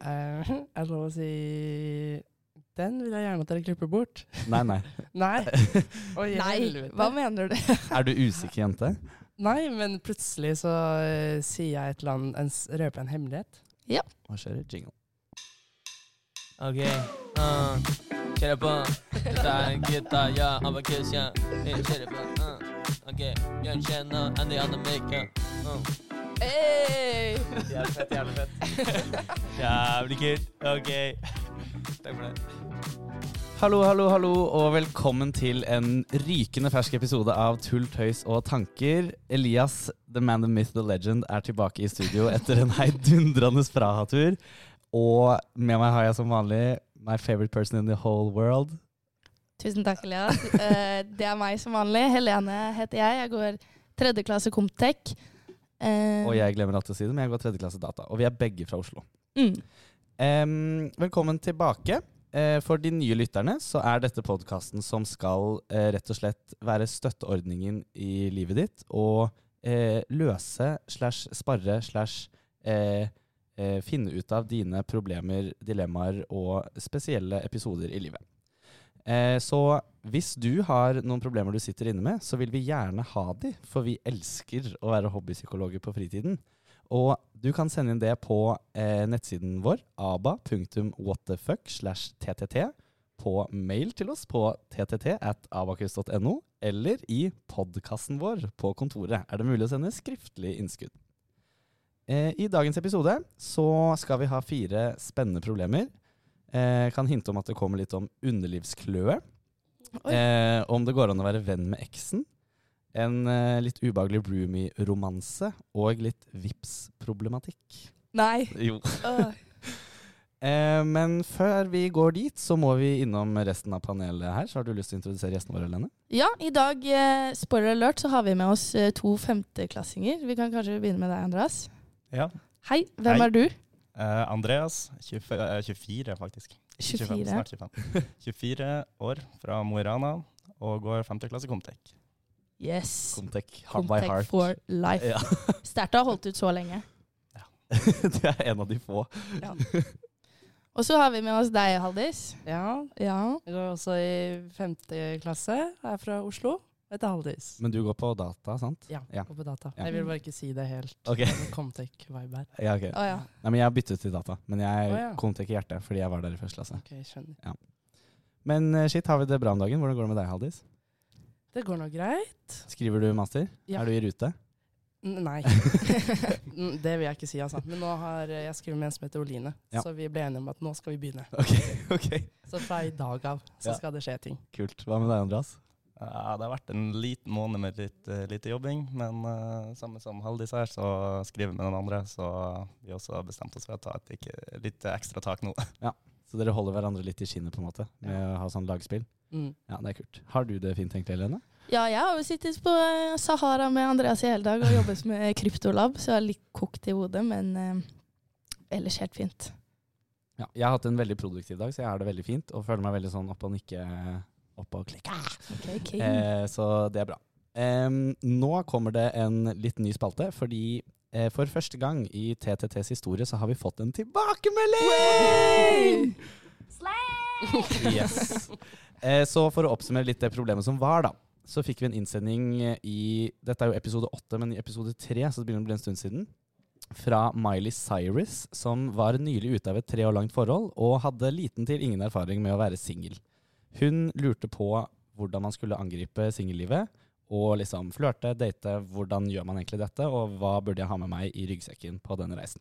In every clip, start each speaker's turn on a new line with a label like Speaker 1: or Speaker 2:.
Speaker 1: er det lov Eh, å si Den vil jeg gjerne at dere klipper bort.
Speaker 2: Nei, nei.
Speaker 1: Nei. Oi,
Speaker 3: Nei,
Speaker 1: helvete.
Speaker 3: hva mener du?
Speaker 2: Er du usikker jente?
Speaker 1: Nei, men plutselig så eh, sier jeg et eller annet, en, s- røper jeg en hemmelighet.
Speaker 2: Hva skjer? Jingle.
Speaker 4: OK. Uh, kjøre på. Dette er gutta, ja. Abakus, ja. Vi kjører på. Uh, OK. Bjørn Kjenna, Andy Annemik, ja. Uh.
Speaker 3: Hey!
Speaker 4: Jævlig fett, jævlig fett. jævlig kult. OK. Takk for det.
Speaker 2: Hallo, hallo, hallo, og velkommen til en rykende fersk episode av Tull, tøys og tanker. Elias, the man, the myth, the legend, er tilbake i studio etter en heidundrende Praha-tur. Og med meg har jeg som vanlig my favorite person in the whole world.
Speaker 3: Tusen takk, Elias. Eh, det er meg som vanlig. Helene heter jeg. Jeg går tredje klasse Comtec. Eh,
Speaker 2: Og jeg glemmer alltid å si det, men jeg går tredje klasse data. Og vi er begge fra Oslo.
Speaker 3: Mm.
Speaker 2: Em, velkommen tilbake. Eh, for de nye lytterne så er dette podkasten som skal eh, rett og slett være støtteordningen i livet ditt, og eh, løse slash sparre slash eh, eh, finne ut av dine problemer, dilemmaer og spesielle episoder i livet. Eh, så hvis du har noen problemer du sitter inne med, så vil vi gjerne ha de, for vi elsker å være hobbypsykologer på fritiden. Og du kan sende inn det på eh, nettsiden vår, aba.whatthefuck slash ttt, på mail til oss på ttt at abakus.no, eller i podkasten vår på kontoret er det mulig å sende skriftlig innskudd. Eh, I dagens episode så skal vi ha fire spennende problemer. Eh, kan hinte om at det kommer litt om underlivskløe.
Speaker 3: Oi.
Speaker 2: Eh, om det går an å være venn med eksen. En eh, litt ubehagelig roomie-romanse. Og litt vips-problematikk.
Speaker 3: Nei.
Speaker 2: Jo.
Speaker 3: Åh.
Speaker 2: Eh, men før vi går dit, så må vi innom resten av panelet her. Så har du lyst til å introdusere gjestene våre, Helene?
Speaker 3: Ja, i dag, eh, spoiler alert, så har vi med oss eh, to femteklassinger. Vi kan kanskje begynne med deg, Andreas.
Speaker 5: Ja.
Speaker 3: Hei, hvem
Speaker 5: Hei.
Speaker 3: er du?
Speaker 5: Eh, Andreas, 24, eh, 24 faktisk. 25,
Speaker 3: 24.
Speaker 5: snart 25. 24 år, fra Mo i Rana, og går 5. klasse Comtec.
Speaker 3: Yes.
Speaker 2: Comtec Hard by
Speaker 3: Comtec
Speaker 2: Heart.
Speaker 3: for life.
Speaker 2: Ja.
Speaker 3: Sterkt å ha holdt ut så lenge.
Speaker 2: du er en av de få.
Speaker 3: Og så har vi med oss deg, Haldis.
Speaker 1: Ja.
Speaker 3: Ja.
Speaker 1: Jeg går også i femte klasse, er fra Oslo. Jeg heter Haldis.
Speaker 2: Men du går på data, sant?
Speaker 1: Ja,
Speaker 2: Ja.
Speaker 1: går på data.
Speaker 2: Ja.
Speaker 1: Jeg vil bare ikke si det helt.
Speaker 2: Ok.
Speaker 1: Det er en Comtech-vibe her.
Speaker 2: Ja, ok.
Speaker 3: Å ja.
Speaker 2: Nei, men jeg har byttet til data. Men jeg
Speaker 1: Å, ja.
Speaker 2: kom til ikke hjertet, fordi jeg var der i første klasse.
Speaker 1: Ok, skjønner.
Speaker 2: Men eh, shit, har vi det bra om dagen? Hvordan går det med deg, Haldis?
Speaker 1: Det går nå greit.
Speaker 2: Skriver du master?
Speaker 1: Ja.
Speaker 2: Er du i rute?
Speaker 1: N- Nei. N- det vil jeg ikke si, altså. Men nå har eh, jeg skrevet med en som heter Oline,
Speaker 2: Ja.
Speaker 1: så vi ble enige om at nå skal vi begynne.
Speaker 2: Ok, ok.
Speaker 1: Så fra i dag av så
Speaker 2: Ja.
Speaker 1: skal det skje ting.
Speaker 2: Kult. Hva med deg, Andreas?
Speaker 5: Eh, det har vært en liten måned med litt eh, lite jobbing, men eh, samme som Haldis her, så skriver vi med den andre, så vi også har bestemt oss for å ta et ikke, litt ekstra tak nå.
Speaker 2: Så dere holder hverandre litt i skinnet på en måte, med å ha sånn lagspill?
Speaker 1: Mm.
Speaker 2: Ja, det er kult. Har du det fint egentlig, Helene?
Speaker 3: ja, jeg har jo sittet på eh, Sahara med Andreas i hele dag og jobbet med kryptolab, så jeg er litt kokt i hodet, men eh, ellers helt fint.
Speaker 2: Ja. Jeg har hatt en veldig produktiv dag, så jeg har det veldig fint, og føler meg veldig sånn opp og nikke, opp og klikke.
Speaker 3: Ok, ok.
Speaker 2: Eh, så det er bra. Em, nå kommer det en litt ny spalte, fordi eh, for første gang i TTTs historie så har vi fått en tilbakemelding! Yes. Eh, så for å oppsummere litt det problemet som var, da. Så fikk vi en innsending eh, i Dette er jo episode åtte, men i episode tre, så det begynner å bli en stund siden. Fra Miley Cyrus, som var nylig ute av et tre år langt forhold og hadde liten til ingen erfaring med å være singel. Hun lurte på hvordan man skulle angripe singellivet. Og liksom flørte, date, hvordan gjør man egentlig dette, og hva burde jeg ha med meg i ryggsekken på denne reisen.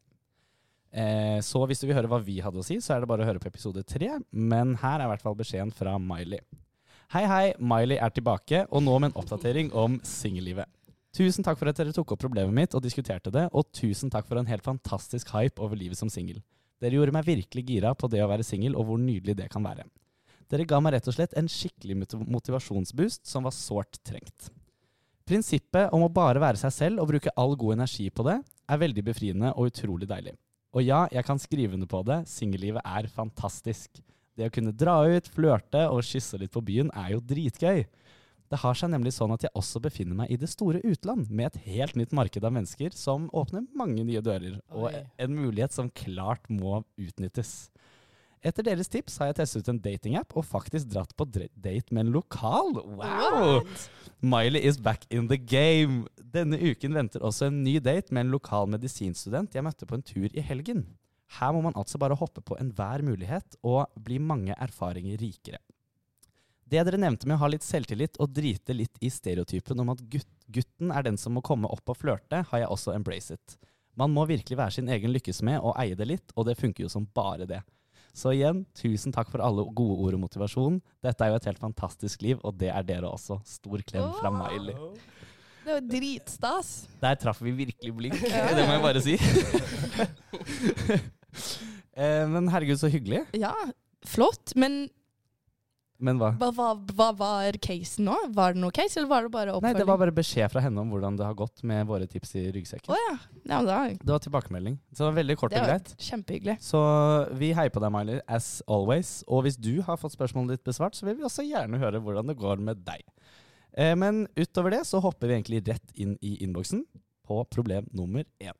Speaker 2: Eh, så hvis du vil høre hva vi hadde å si, så er det bare å høre på episode tre. Men her er i hvert fall beskjeden fra Miley. Hei, hei. Miley er tilbake, og nå med en oppdatering om singellivet. Tusen takk for at dere tok opp problemet mitt og diskuterte det, og tusen takk for en helt fantastisk hype over livet som singel. Dere gjorde meg virkelig gira på det å være singel, og hvor nydelig det kan være. Dere ga meg rett og slett en skikkelig mot- motivasjonsboost som var sårt trengt. Prinsippet om å bare være seg selv og bruke all god energi på det, er veldig befriende og utrolig deilig. Og ja, jeg kan skrive under på det. Singellivet er fantastisk. Det å kunne dra ut, flørte og kysse litt på byen er jo dritgøy. Det har seg nemlig sånn at jeg også befinner meg i det store utland, med et helt nytt marked av mennesker som åpner mange nye dører, og
Speaker 1: Oi.
Speaker 2: en mulighet som klart må utnyttes. Etter deres tips har jeg testet ut en datingapp og faktisk dratt på dre- date med en lokal. Wow! Miley is back in the game. Denne uken venter også en ny date med en lokal medisinstudent jeg møtte på en tur i helgen. Her må man altså bare hoppe på enhver mulighet og bli mange erfaringer rikere. Det dere nevnte med å ha litt selvtillit og drite litt i stereotypen om at gutt, gutten er den som må komme opp og flørte, har jeg også embracet. Man må virkelig være sin egen lykkesmed og eie det litt, og det funker jo som bare det. Så igjen, tusen takk for alle gode ord og motivasjon. Dette er jo et helt fantastisk liv, og det er dere også. Stor klem fra
Speaker 3: Åh.
Speaker 2: Miley.
Speaker 3: Det var dritstas.
Speaker 2: Der traff vi virkelig blink, det må jeg bare si. Eh, Men herregud, så hyggelig.
Speaker 3: Ja, flott. Men
Speaker 2: Men hva?
Speaker 3: hva, hva, hva var casen nå? Var det noe case, eller var det bare
Speaker 2: Nei,
Speaker 3: oppfølging?
Speaker 2: det var bare beskjed fra henne om hvordan det har gått med våre tips i
Speaker 3: Å
Speaker 2: ryggsekken.
Speaker 3: ja. ja men da,
Speaker 2: Det var tilbakemelding. Så det var veldig kort
Speaker 3: det
Speaker 2: og
Speaker 3: var
Speaker 2: greit.
Speaker 3: kjempehyggelig.
Speaker 2: Så vi heier på deg, Miley, as always. Og hvis du har fått spørsmålet ditt besvart, så vil vi også gjerne høre hvordan det går med deg. Eh, Men utover det så hopper vi egentlig rett inn i innboksen på problem nummer én.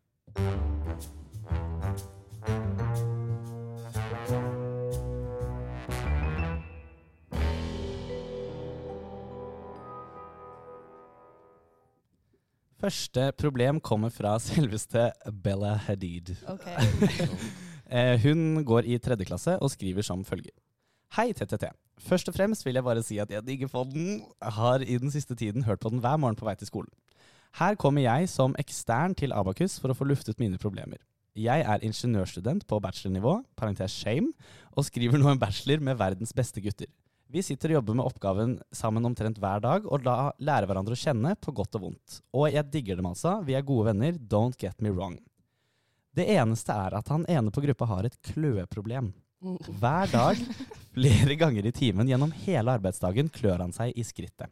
Speaker 2: Første problem kommer fra selveste Bella Hadid. Eh, Hun går i tredje klasse og skriver som følger. Hei, TTT. Først og fremst vil jeg bare si at jeg digger podden. Har i den siste tiden hørt på den hver morgen på vei til skolen. Her kommer jeg som ekstern til Abakus for å få luftet mine problemer. Jeg er ingeniørstudent på bachelornivå, parentes shame, og skriver nå en bachelor med verdens beste gutter. Vi sitter og jobber med oppgaven sammen omtrent hver dag, og da lærer hverandre å kjenne på godt og vondt. Og jeg digger dem altså, vi er gode venner, don't get me wrong. Det eneste er at han ene på gruppa har et kløeproblem. Hver dag, flere ganger i timen gjennom hele arbeidsdagen, klør han seg i skrittet.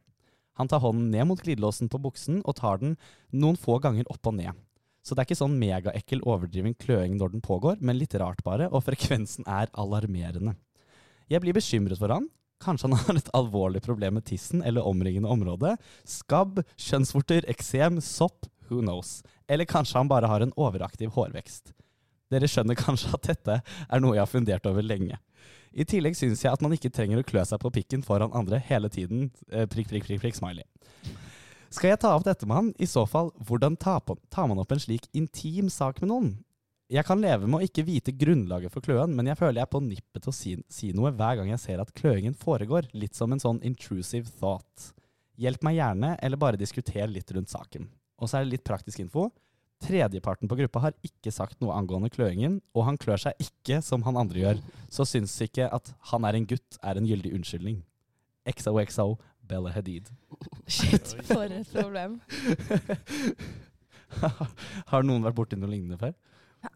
Speaker 2: Han tar hånden ned mot glidelåsen på buksen og tar den noen få ganger opp og ned. Så det er ikke sånn megaekkel overdriven kløing når den pågår, men litt rart bare, og frekvensen er alarmerende. Jeg blir bekymret for han. Kanskje han har et alvorlig problem med tissen eller omringende område. Skabb, kjønnsvorter, eksem, sopp, who knows. Eller kanskje han bare har en overaktiv hårvekst. Dere skjønner kanskje at dette er noe jeg har fundert over lenge. I tillegg syns jeg at man ikke trenger å klø seg på pikken foran andre hele tiden. Eh, prikk, prikk, prikk, prikk, smiley. Skal jeg ta opp dette med han? I så fall, hvordan tar på- tar man opp en slik intim sak med noen? Jeg kan leve med å ikke vite grunnlaget for kløen, men jeg føler jeg er på nippet til å si, si noe hver gang jeg ser at kløingen foregår, litt som en sånn intrusive thought. Hjelp meg gjerne, eller bare diskuter litt rundt saken. Og så er det litt praktisk info. Tredjeparten på gruppa har ikke sagt noe angående kløingen, og han klør seg ikke som han andre gjør. Så syns ikke at 'han er en gutt' er en gyldig unnskyldning. XOXO Bella Hadid.
Speaker 3: Shit, for et problem.
Speaker 2: har noen vært borti noe lignende før?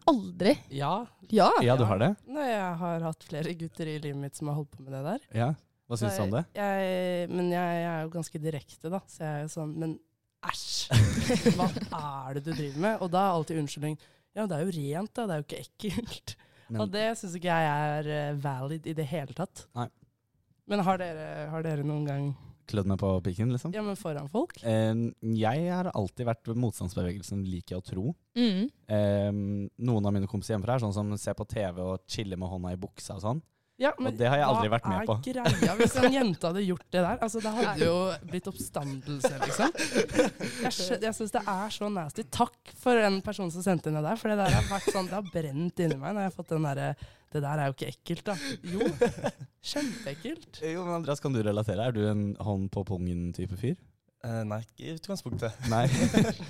Speaker 3: Aldri.
Speaker 1: Ja.
Speaker 3: Ja.
Speaker 2: Ja, du har det?
Speaker 1: Nei, jeg har hatt flere gutter i livet mitt som har holdt på med det der.
Speaker 2: Ja. Hva syns du om det?
Speaker 1: Jeg, men jeg, jeg er jo ganske direkte, da. Så jeg er jo sånn Men æsj! Hva er det du driver med? Og da er alltid unnskyldning Ja, men det er jo rent, da. Det er jo ikke ekkelt.
Speaker 2: Men-
Speaker 1: og det syns ikke jeg er eh, valid i det hele tatt.
Speaker 2: Nei.
Speaker 1: Men har dere, har dere noen gang
Speaker 2: Klødd meg på pikken, liksom?
Speaker 1: Ja, men foran folk?
Speaker 2: Eh, jeg har alltid vært ved motstandsbevegelsen, liker jeg å tro.
Speaker 3: Mm.
Speaker 2: Eh, noen av mine kompiser hjemmefra er sånn som ser på TV og chiller med hånda i buksa og sånn.
Speaker 1: Ja,
Speaker 2: Og det har jeg aldri vært med på.
Speaker 1: Hva er greia hvis en jente hadde gjort det der? Altså, Det hadde jo blitt oppstandelse, liksom. Jeg, skjø- jeg syns det er så nasty. Takk for den personen som sendte inn det der. For det der har vært sånn, det har brent inni meg når jeg har fått den derre Det der er jo ikke ekkelt, da. Jo, kjempeekkelt.
Speaker 2: Jo, men Andreas, kan du relatere? Er du en hånd på pungen-type fyr?
Speaker 5: Eh, nei, ikke i utgangspunktet.
Speaker 2: Nei.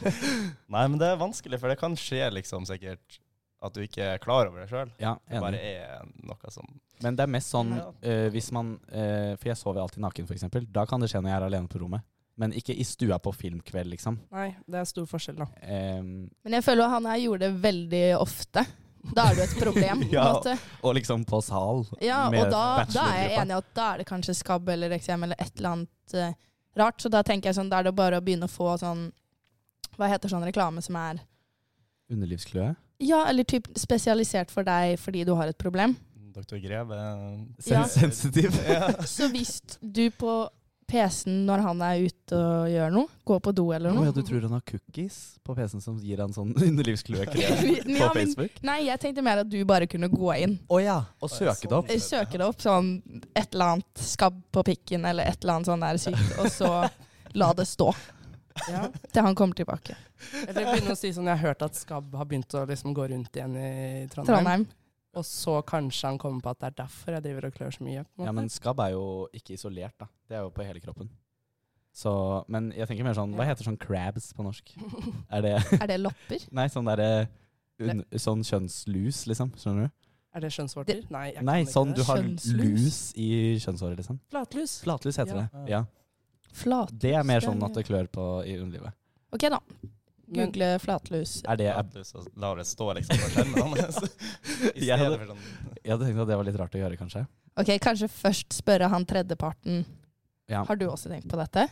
Speaker 5: Nei, men det er vanskelig, for det kan skje liksom sikkert at du ikke er klar over det sjøl.
Speaker 2: Ja,
Speaker 5: Det bare
Speaker 2: enig.
Speaker 5: er noe som
Speaker 2: Men det er mest sånn
Speaker 5: Ja.
Speaker 2: eh, hvis man eh, For jeg sover alltid naken, f.eks. Da kan det skje når jeg er alene på rommet. Men ikke i stua på filmkveld, liksom.
Speaker 1: Nei, det er stor forskjell, da.
Speaker 2: Ehm,
Speaker 3: Men jeg føler at han her gjorde det veldig ofte. Da er det jo et problem. på en
Speaker 2: Ja.
Speaker 3: måte.
Speaker 2: og liksom på sal.
Speaker 3: Ja,
Speaker 2: med
Speaker 3: og da, da er jeg
Speaker 2: bachelorgruppa.
Speaker 3: enig i at da er det kanskje skabb eller eksem eller et eller annet eh, rart. Så da tenker jeg sånn, da er det bare å begynne å få sånn Hva heter sånn reklame som er
Speaker 2: Underlivskløe.
Speaker 3: Ja, eller typ spesialisert for deg fordi du har et problem.
Speaker 5: Dr. Greve
Speaker 3: Ja.
Speaker 2: Sensitiv.
Speaker 5: ja.
Speaker 3: Så hvis du på PC-en når han er ute og gjør noe. Går på do eller
Speaker 2: Å
Speaker 3: noe.
Speaker 2: ja, du tror han har cookies på PC-en som gir han sånn underlivskløe-krem på
Speaker 3: Ja, men,
Speaker 2: Facebook?
Speaker 3: nei, jeg tenkte mer at du bare kunne gå inn.
Speaker 2: Å ja, og søke det opp.
Speaker 3: Eh, Søke det opp sånn et eller annet skabb på pikken eller et eller annet sånn der sykt, og så la det stå
Speaker 1: Ja.
Speaker 3: til han kommer tilbake.
Speaker 1: Eller begynne å si sånn Jeg har hørt at Skabb har begynt å liksom gå rundt igjen i Trondheim.
Speaker 3: Trondheim.
Speaker 1: Og så kanskje han kommer på at det er derfor jeg driver og klør så mye. på en
Speaker 2: Ja,
Speaker 1: måte.
Speaker 2: men skabb er jo ikke isolert, da. Det er jo på hele kroppen. Så, men jeg tenker mer sånn Hva heter sånn crabs på norsk? Er det
Speaker 3: Er det lopper?
Speaker 2: Nei, sånn derre un- Sånn kjønnslus, liksom. Skjønner du?
Speaker 1: Er det skjønnsvorter? Nei, jeg kan
Speaker 2: Nei,
Speaker 1: ikke
Speaker 2: sånn du
Speaker 1: det.
Speaker 2: har
Speaker 3: Kjønnslus?
Speaker 2: lus i kjønnshåret, liksom.
Speaker 1: Flatlus.
Speaker 2: Flatlus heter
Speaker 1: Ja.
Speaker 2: det. Ja.
Speaker 3: Flat.
Speaker 2: Det er mer
Speaker 3: det er
Speaker 2: sånn at
Speaker 3: mye.
Speaker 2: det klør på i underlivet.
Speaker 3: Ok, da.
Speaker 1: Men-
Speaker 3: Google flatlus.
Speaker 2: Er det,
Speaker 5: At
Speaker 2: jeg,
Speaker 5: du så lar det stå liksom på skjermen hans. I
Speaker 2: Jeg hadde-
Speaker 5: stedet for sånn
Speaker 2: jeg hadde tenkt at det var litt rart å gjøre, kanskje.
Speaker 3: Ok, Kanskje først spørre han tredjeparten.
Speaker 2: Ja.
Speaker 3: Har du også tenkt på dette?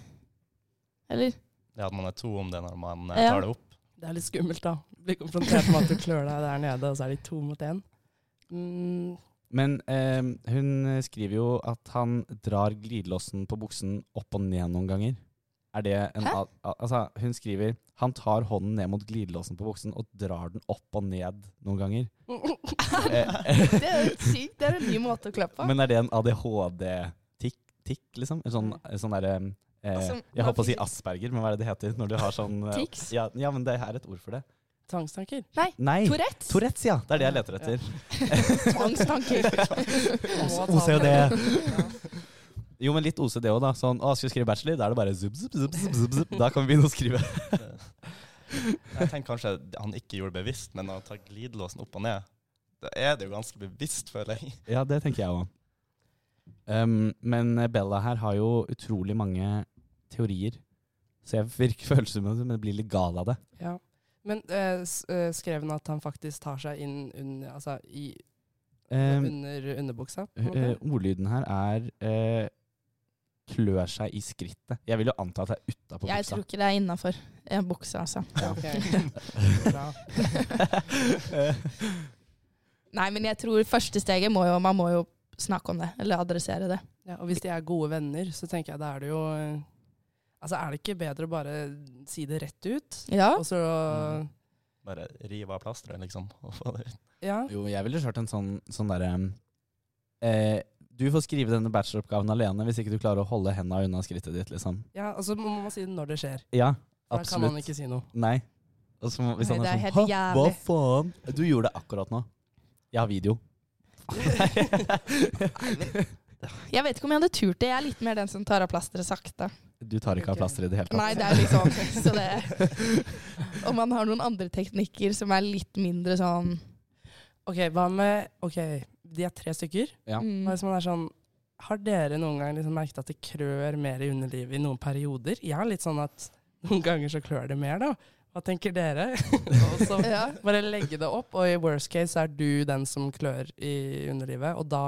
Speaker 3: Eller?
Speaker 5: det at man er to om det når man eh,
Speaker 3: Ja.
Speaker 5: tar det opp.
Speaker 1: Det er litt skummelt, da. Bli konfrontert med at du klør deg der nede, og så er de to mot én. Mm,
Speaker 2: Men eh, hun skriver jo at han drar glidelåsen på buksen opp og ned noen ganger. Er det en
Speaker 3: Hæ?
Speaker 2: al- al- Altså, hun skriver han tar hånden ned mot glidelåsen på buksen og drar den opp og ned noen ganger. Eh,
Speaker 3: Det er jo sykt. Det er en ny måte å klø på.
Speaker 2: Men er det en ADHD-tikk, liksom? En sånn, en sånn derre eh,
Speaker 3: Mm. Altså,
Speaker 2: Jeg holdt på å si
Speaker 3: hva-
Speaker 2: Asperger, men hva er det det heter når du har sånn eh,
Speaker 3: Tics?
Speaker 2: Ja, ja, men det er et ord for det.
Speaker 1: tvangstanker.
Speaker 2: Nei!
Speaker 3: Tourettes.
Speaker 2: Tourettes, ja! Det er det jeg leter etter.
Speaker 1: Må ta
Speaker 2: OCD.
Speaker 1: det.
Speaker 2: Jo, men litt OCD òg, da. Sånn, å, skal vi skrive bachelor? Da er det bare zup, zup, zup, zup, zup, zup. Da kan vi begynne å skrive.
Speaker 5: Jeg tenker kanskje han ikke gjorde det bevisst, men å ta glidelåsen opp og ned, da er det jo ganske bevisst, føler jeg.
Speaker 2: Ja, det tenker jeg òg. Um, men Bella her har jo utrolig mange teorier, så jeg virker følelsesmessig, men jeg blir litt gal av det.
Speaker 1: Ja. Men eh, s- eh, skrev han at han faktisk tar seg inn under, altså, i,
Speaker 2: Um,
Speaker 1: under underbuksa? på en
Speaker 2: eh,
Speaker 1: måte?
Speaker 2: ordlyden her er eh, klør seg i skrittet. Jeg vil jo anta at det er utapå
Speaker 3: Jeg
Speaker 2: buksa.
Speaker 3: tror ikke det er innafor buksa, altså.
Speaker 2: eh,
Speaker 1: Ok. Bra.
Speaker 3: Nei, men jeg tror første steget må jo Man må jo snakke om det, eller adressere det.
Speaker 1: Ja, og hvis de er gode venner, så tenker jeg da er det jo eh, Altså, er det ikke bedre å bare si det rett ut?
Speaker 3: Ja.
Speaker 1: Og så
Speaker 5: Mm. Bare rive av plasteret, liksom. Og få det ut.
Speaker 1: Ja.
Speaker 2: Jo, jeg ville kjørt en sånn, sånn derre eh, Du får skrive denne bacheloroppgaven alene hvis ikke du klarer å holde henda unna skrittet ditt, liksom.
Speaker 1: ja og så må man si det når det skjer.
Speaker 2: Ja,
Speaker 1: For da kan man
Speaker 2: absolutt.
Speaker 1: ikke si noe.
Speaker 2: Nei. Og så må, hvis
Speaker 3: Nei,
Speaker 2: han
Speaker 3: det
Speaker 2: er,
Speaker 3: er
Speaker 2: sånn «Hå,
Speaker 3: helt
Speaker 2: Hva faen? Du gjorde det akkurat nå. Jeg har video.
Speaker 3: Jeg vet ikke om jeg hadde turt det. Jeg er litt mer den som tar av plasteret sakte.
Speaker 2: Du tar ikke av
Speaker 1: Ok.
Speaker 2: plaster i det hele tatt.
Speaker 3: Nei, det er litt sånn. Så det Og man har noen andre teknikker som er litt mindre sånn
Speaker 1: OK, hva med OK, de er tre stykker.
Speaker 2: Ja.
Speaker 1: Hva
Speaker 3: mm,
Speaker 1: hvis man er sånn Har dere noen gang liksom merket at det krør mer i underlivet i noen perioder? Jeg har litt sånn at noen ganger så klør det mer, da. Hva tenker dere? og så
Speaker 3: ja.
Speaker 1: bare legge det opp, og i worst case så er du den som klør i underlivet, og da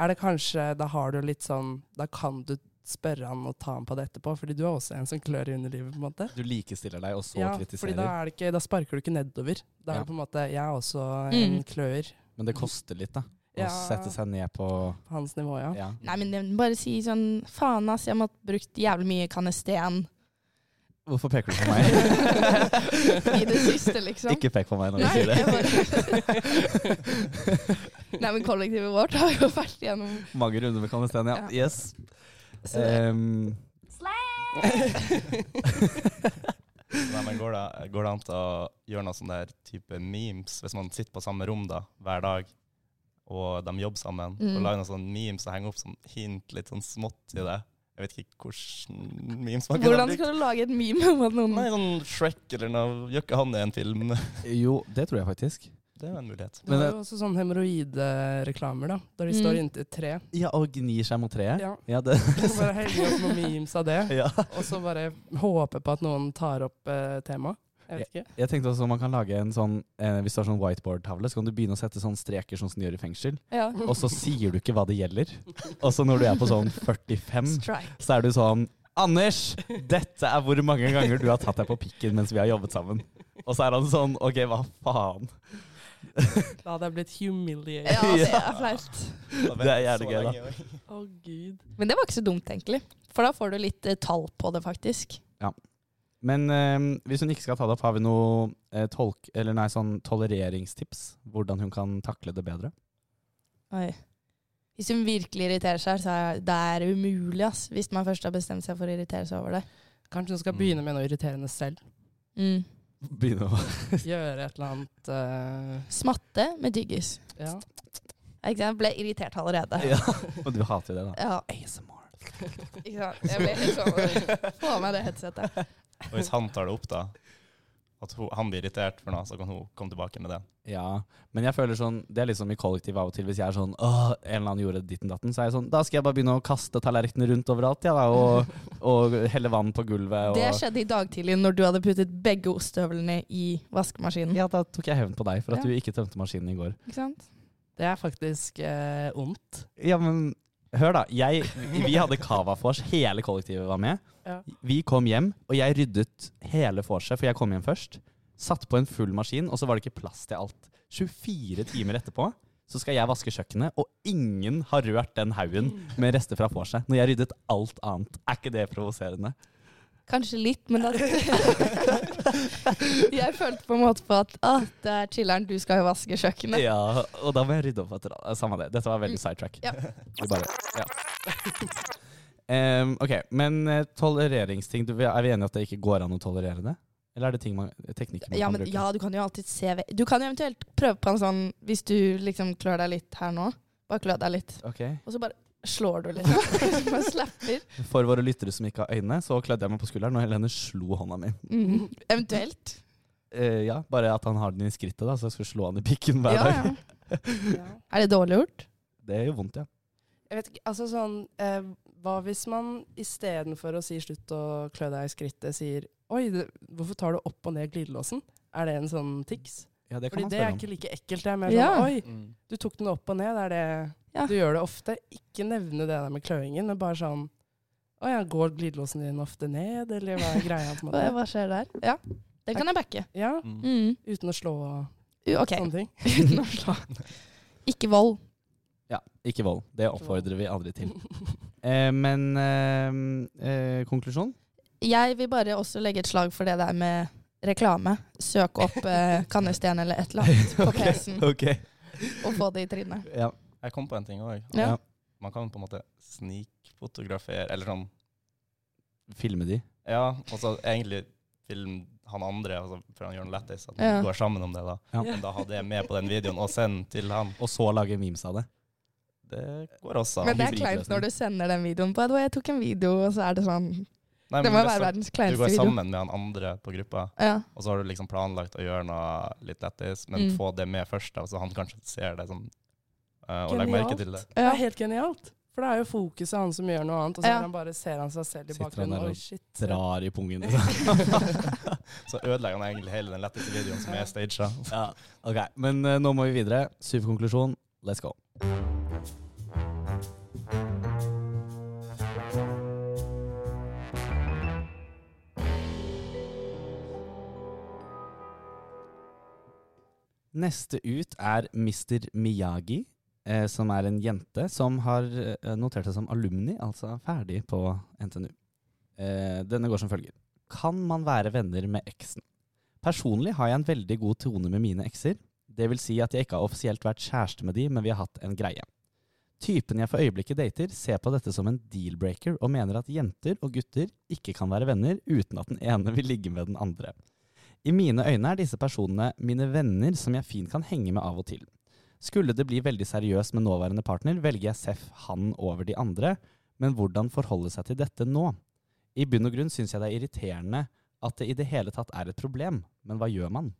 Speaker 1: er det kanskje Da har du litt sånn Da kan du spørre han og ta han på det etterpå, fordi du er også en som klør i underlivet, på en måte.
Speaker 2: Du likestiller deg, og så
Speaker 1: Ja, fordi
Speaker 2: kritiserer.
Speaker 1: da, er det ikke, da sparker du ikke nedover. Da
Speaker 2: Ja.
Speaker 1: er det på en måte Jeg er også en
Speaker 3: Mm.
Speaker 1: klør
Speaker 2: Men det koster litt, da. Å
Speaker 1: Ja.
Speaker 2: sette seg ned på
Speaker 1: på hans nivå, ja.
Speaker 2: ja.
Speaker 3: Nei, men jeg må bare si sånn Faen, ass, jeg måtte brukt jævlig mye Canesten
Speaker 2: Hvorfor peker du på meg?
Speaker 3: i det siste, liksom.
Speaker 2: Ikke pek på meg når du
Speaker 3: Nei,
Speaker 2: sier
Speaker 3: jeg
Speaker 2: det.
Speaker 3: bare- Nei, men kollektivet vårt har jo vært gjennom
Speaker 2: Mange runder med Kanesten, ja. Yes.
Speaker 3: så det-
Speaker 2: Um,
Speaker 5: Nei, men går det, går det an til å gjøre noe sånn der type memes, hvis man sitter på samme rom da, hver dag, og de jobber sammen,
Speaker 3: Mm.
Speaker 5: og lager noen sånne memes og henger opp sånn hint, litt sånn smått i det. Jeg vet ikke hvordan memes man kan
Speaker 3: Hvordan skal du lage et meme om at noen
Speaker 5: Nei, sånn Shrek eller noe. Gjør ikke han det i en film?
Speaker 2: jo, det tror jeg faktisk.
Speaker 5: Det er jo en mulighet.
Speaker 1: Du
Speaker 2: Men
Speaker 1: har
Speaker 2: det-
Speaker 1: jo også sånne hemoroidereklamer, da, der de
Speaker 3: Mm.
Speaker 1: står inntil et tre.
Speaker 2: Ja, Og gnir seg mot treet.
Speaker 1: Ja.
Speaker 2: Ja, det
Speaker 1: Bare heller opp noen memes av det,
Speaker 2: ja.
Speaker 1: og så bare håpe på at noen tar opp eh, temaet. Jeg vet ikke.
Speaker 2: Jeg tenkte også man kan lage en sånn eh, Hvis du har sånn whiteboard-tavle, så kan du begynne å sette sånne streker sånn som de gjør i fengsel.
Speaker 3: Ja.
Speaker 2: Og så sier du ikke hva det gjelder. Og så når du er på sånn 45,
Speaker 3: Strike.
Speaker 2: så er du sånn Anders, dette er hvor mange ganger du har tatt deg på pikken mens vi har jobbet sammen. Og så er han sånn OK, hva faen?
Speaker 1: Da hadde jeg blitt humiliated.
Speaker 3: Ja, altså, det er flaut.
Speaker 2: Det er jævlig gøy, da.
Speaker 1: Å, gud.
Speaker 3: Men det var ikke så dumt, egentlig. For da får du litt eh, tall på det, faktisk.
Speaker 2: Men eh, hvis hun ikke skal ta det opp, har vi noe eh, tolk, eller nei, sånn tolereringstips? Hvordan hun kan takle det bedre?
Speaker 3: Oi. Hvis hun virkelig irriterer seg, så er det er umulig, ass. Hvis man først har bestemt seg for å irritere seg over det.
Speaker 1: Kanskje hun skal
Speaker 2: Mm.
Speaker 1: begynne med noe irriterende selv.
Speaker 3: Mm.
Speaker 2: Begynne å
Speaker 1: Gjøre et eller annet eh,
Speaker 3: Smatte med tyggis.
Speaker 1: Ja.
Speaker 3: Ikke sant? Ble irritert allerede.
Speaker 2: Ja. Og du hater jo det, da.
Speaker 3: Ja,
Speaker 2: ASMR.
Speaker 3: ikke sant. Jeg ble helt sånn Få av meg det headsetet.
Speaker 5: Og hvis han tar det opp, da, at hun, han blir irritert for noe, så kan hun komme tilbake med det.
Speaker 2: Ja, men jeg føler sånn Det er liksom i kollektiv av og til. Hvis jeg er sånn Åh, en eller annen gjorde ditten datten, så er jeg sånn Da skal jeg bare begynne å kaste tallerkenene rundt overalt, ja, da, og, og helle vann på gulvet.
Speaker 3: Det
Speaker 2: Og,
Speaker 3: skjedde i dag tidlig når du hadde puttet begge ostehøvlene i vaskemaskinen.
Speaker 2: ja, da tok jeg hevn på deg for at
Speaker 3: Ja.
Speaker 2: du ikke tømte maskinen i går.
Speaker 3: Ikke sant?
Speaker 1: Det er faktisk eh, ondt.
Speaker 2: Ja, men hør da. Jeg, vi hadde cava vors, hele kollektivet var med.
Speaker 1: Ja.
Speaker 2: Vi kom hjem, og jeg ryddet hele vorset, for jeg kom hjem først. Satt på en full maskin, og så var det ikke plass til alt. 24 timer etterpå så skal jeg vaske kjøkkenet, og ingen har rørt den haugen med rester fra vorset. Når jeg ryddet alt annet. Er ikke det provoserende?
Speaker 3: Kanskje litt, men da Jeg følte på en måte på at ah, det er chiller'n, du skal jo vaske kjøkkenet.
Speaker 2: Ja, og da må jeg rydde opp etter det. Samme det. Dette var veldig sidetrack.
Speaker 3: Ja.
Speaker 2: Vi bare, ja. Em, ok, men eh, tolereringsting du, Er vi enige at det ikke går an å tolerere det? Eller er det ting man, teknikker man
Speaker 3: Ja,
Speaker 2: kan
Speaker 3: men
Speaker 2: bruke?
Speaker 3: ja, du kan jo alltid se ve- Du kan jo eventuelt prøve på en sånn Hvis du liksom klør deg litt her nå, bare klø deg litt,
Speaker 2: Ok.
Speaker 3: og så bare slår du litt. Så bare slapper.
Speaker 2: For våre lyttere som ikke har øyne, så klødde jeg meg på skulderen, og Helene slo hånda mi.
Speaker 3: Mm. Eventuelt.
Speaker 2: Eh, ja, Bare at han har den i skrittet, da, så jeg skulle slå han i pikken hver
Speaker 3: Ja,
Speaker 2: dag.
Speaker 3: ja. Er det dårlig gjort?
Speaker 2: Det gjør vondt, ja.
Speaker 1: Jeg vet ikke, altså sånn eh, Hva hvis man istedenfor å si 'slutt å klø deg i skrittet', sier 'oi, det, hvorfor tar du opp og ned glidelåsen'? Er det en sånn tics?
Speaker 2: Ja, det kan
Speaker 1: Fordi
Speaker 2: man
Speaker 1: det er
Speaker 2: spørre om.
Speaker 1: ikke like ekkelt. Det er mer
Speaker 3: Ja.
Speaker 1: sånn 'oi, du tok den opp og ned', det er det
Speaker 3: Ja.
Speaker 1: Du gjør det ofte. Ikke nevne det der med kløingen, men bare sånn 'Å ja, går glidelåsen din ofte ned', eller hva er greia? på en
Speaker 3: Hva,
Speaker 1: måte?
Speaker 3: hva skjer der? Ja, den kan jeg backe.
Speaker 1: Ja,
Speaker 5: Mm.
Speaker 3: Mm.
Speaker 1: uten å slå og
Speaker 3: U- OK.
Speaker 1: sånne ting.
Speaker 3: Uten å slå. Ikke vold.
Speaker 2: Ja, ikke vold. Det oppfordrer vi aldri til. Eh, men eh, eh, konklusjon?
Speaker 3: Jeg vil bare også legge et slag for det der med reklame. Søk opp eh, Kannesten eller et eller annet på PC-en
Speaker 2: Ok.
Speaker 3: og få det i trynet.
Speaker 2: Ja.
Speaker 5: Jeg kom på en ting òg.
Speaker 3: Ja.
Speaker 2: Ja.
Speaker 5: Man kan på en måte snikfotografere, eller sånn
Speaker 2: Filme de.
Speaker 5: Ja, og så egentlig film han andre, altså, for han gjør noe lættis, at
Speaker 3: Ja.
Speaker 5: man går sammen om det, da.
Speaker 2: Ja.
Speaker 5: Men da hadde jeg med på den videoen, og send til han.
Speaker 2: Og så lage memes av det.
Speaker 5: Det går også.
Speaker 3: Men det er
Speaker 2: Hybridløsning.
Speaker 3: kleint når du sender den videoen på. «Du, Jeg tok en video, og så er det sånn.
Speaker 5: Nei,
Speaker 3: Det
Speaker 5: men
Speaker 3: må
Speaker 5: hvis
Speaker 3: være
Speaker 5: han-
Speaker 3: verdens
Speaker 5: Du
Speaker 3: kleineste
Speaker 5: går
Speaker 3: video.
Speaker 5: sammen med han andre på gruppa,
Speaker 3: Ja.
Speaker 5: og så har du liksom planlagt å gjøre noe litt lættis, men
Speaker 3: Mm.
Speaker 5: få det med først, da, så han kanskje ser det sånn, eh, og legger merke til det.
Speaker 1: Det
Speaker 3: Ja.
Speaker 1: er helt genialt. For da er jo fokuset han som gjør noe annet, og så
Speaker 3: Ja.
Speaker 1: er han bare ser han seg selv i
Speaker 2: Sitter han der
Speaker 1: bakgrunnen.
Speaker 2: og
Speaker 1: Oi, shit.
Speaker 2: Drar i pungen.
Speaker 5: Så ødelegger han egentlig hele den letteste videoen som er staged.
Speaker 2: ja. Ok, men eh, nå må vi videre. Syv konklusjon. Let's go. Neste ut er Mr. Miyagi, eh, som er en jente som har eh, notert seg som alumni, altså ferdig på NTNU. Eh, denne går som følger. Kan man være venner med eksen? Personlig har jeg en veldig god tone med mine ekser. Det vil si at jeg ikke har offisielt vært kjæreste med de, men vi har hatt en greie. Typen jeg for øyeblikket dater, ser på dette som en deal-breaker og mener at jenter og gutter ikke kan være venner uten at den ene vil ligge med den andre. I mine øyne er disse personene mine venner som jeg fint kan henge med av og til. Skulle det bli veldig seriøst med nåværende partner, velger jeg Seff han over de andre, men hvordan forholde seg til dette nå? I bunn og grunn syns jeg det er irriterende at det i det hele tatt er et problem, men hva gjør man?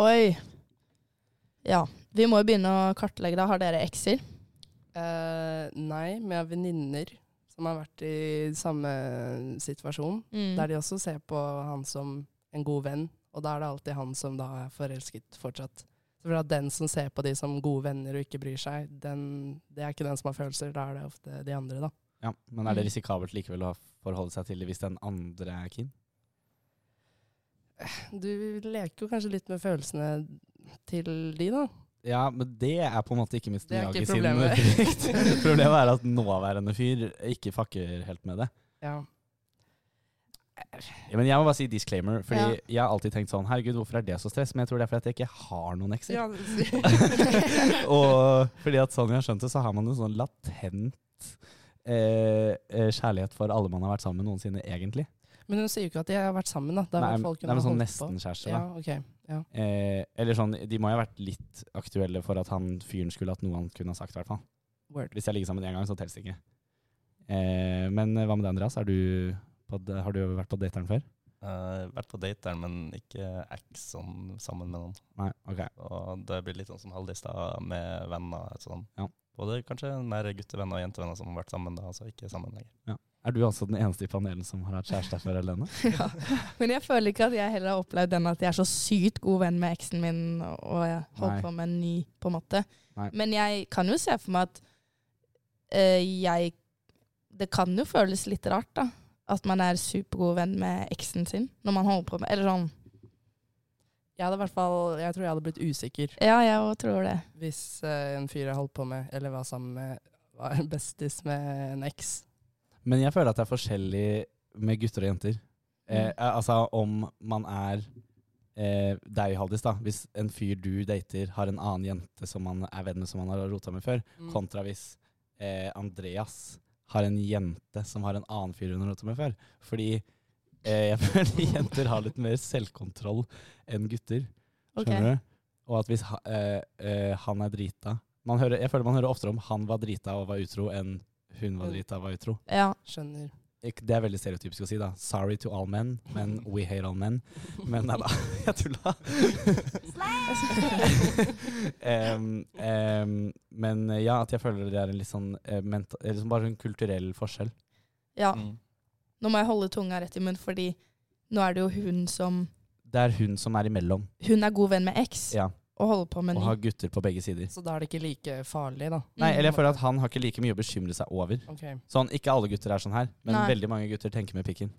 Speaker 3: Oi. Ja. Vi må jo begynne å kartlegge. da. Har dere ekser?
Speaker 1: Eh, nei, men jeg har venninner som har vært i samme situasjon. Der de også ser på han som en god venn, og da er det alltid han som da er forelsket fortsatt. Så for at Den som ser på de som gode venner og ikke bryr seg, den, det er ikke den som har følelser. Da er det ofte de andre, da.
Speaker 2: Ja, Men er det
Speaker 3: Mm.
Speaker 2: risikabelt likevel å forholde seg til det hvis den andre er keen?
Speaker 1: Du leker jo kanskje litt med følelsene til de, da.
Speaker 2: Ja, men det er på en måte ikke Mr.
Speaker 1: Det er ikke
Speaker 2: Miyagi sin
Speaker 1: problemet.
Speaker 2: frykt. problemet er at nåværende fyr ikke fucker helt med det.
Speaker 1: Ja.
Speaker 2: Ja, men jeg må bare si disclaimer, fordi
Speaker 3: Ja.
Speaker 2: jeg har alltid tenkt sånn Herregud, hvorfor er det så stress? Men jeg tror det er fordi at jeg ikke har noen ekser.
Speaker 1: ja
Speaker 2: og fordi at sånn jeg har skjønt det, så har man en sånn latent eh, eh, kjærlighet for alle man har vært sammen med noensinne, egentlig.
Speaker 1: men hun sier jo ikke at de har vært sammen, da. Det
Speaker 2: Nei,
Speaker 1: har i hvert fall
Speaker 2: nei,
Speaker 1: kunnet
Speaker 2: men sånn
Speaker 1: holdt på.
Speaker 2: nesten-kjæreste.
Speaker 1: Ja,
Speaker 2: da.
Speaker 1: ok. Ja.
Speaker 2: Eh, eller sånn, de må jo ha vært litt aktuelle for at han fyren skulle hatt noe han kunne ha sagt, i hvert fall.
Speaker 1: Word.
Speaker 2: Hvis jeg ligger sammen én gang, så telles det ikke. Eh, men hva med deg, Andreas? Er du på, d- har du vært på dateren før?
Speaker 5: Eh, vært på dater, men ikke ex sånn, sammen med noen.
Speaker 2: Nei? Ok.
Speaker 5: Og det blir litt sånn som Haldis da, med venner. og Sånn.
Speaker 2: Ja.
Speaker 5: Både kanskje mer guttevenner og jentevenner som har vært sammen da, altså ikke sammen lenger.
Speaker 2: Er du altså den eneste i panelen som har hatt kjæreste før, Helene?
Speaker 3: ja. Men jeg føler ikke at jeg heller har opplevd den at jeg er så sykt god venn med eksen min, og jeg holder
Speaker 2: Nei.
Speaker 3: på med en ny, på en måte.
Speaker 2: Nei.
Speaker 3: Men jeg kan jo se for meg at eh, jeg Det kan jo føles litt rart, da. At man er supergod venn med eksen sin når man holder på med Eller sånn.
Speaker 1: Jeg hadde i hvert fall Jeg tror jeg hadde blitt usikker
Speaker 3: Ja, jeg òg tror det.
Speaker 1: hvis eh, en fyr jeg holdt på med, eller var sammen med, var en bestis med en eks.
Speaker 2: Men jeg føler at det er forskjellig med gutter og jenter. Eh, altså om man er eh, deg, Haldis, da. Hvis en fyr du dater, har en annen jente som man er venn med som man har rota med før,
Speaker 1: Mm,
Speaker 2: kontra hvis eh, Andreas har en jente som har en annen fyr hun har rota med før. Fordi eh, jeg føler jenter har litt mer selvkontroll enn gutter.
Speaker 3: Ok.
Speaker 2: Skjønner du? Og at hvis ha, eh, eh, han er drita man hører, Jeg føler man hører oftere om han var drita og var utro, enn hun var drita og var utro.
Speaker 3: Ja.
Speaker 1: Skjønner.
Speaker 2: Ik- Det er veldig stereotypisk å si, da. Sorry to all men, men we hate all men. Men nei da, jeg tulla. Em, em, men eh, ja, at jeg føler det er en litt sånn eh, menta- eh, liksom Bare en kulturell forskjell.
Speaker 3: ja.
Speaker 5: Mm.
Speaker 3: Nå må jeg holde tunga rett i munnen, fordi nå er det jo hun som
Speaker 2: Det er hun som er imellom,
Speaker 3: Hun er god venn med eks
Speaker 2: ja,
Speaker 3: og holder på med
Speaker 2: og
Speaker 3: en ny.
Speaker 2: har gutter på begge sider.
Speaker 1: Så da er det ikke like farlig, da.
Speaker 2: Nei, eller jeg føler at han har ikke like mye å bekymre seg over.
Speaker 1: Ok.
Speaker 2: Sånn, Ikke alle gutter er sånn her, men
Speaker 3: Nei.
Speaker 2: veldig mange gutter tenker med pikken.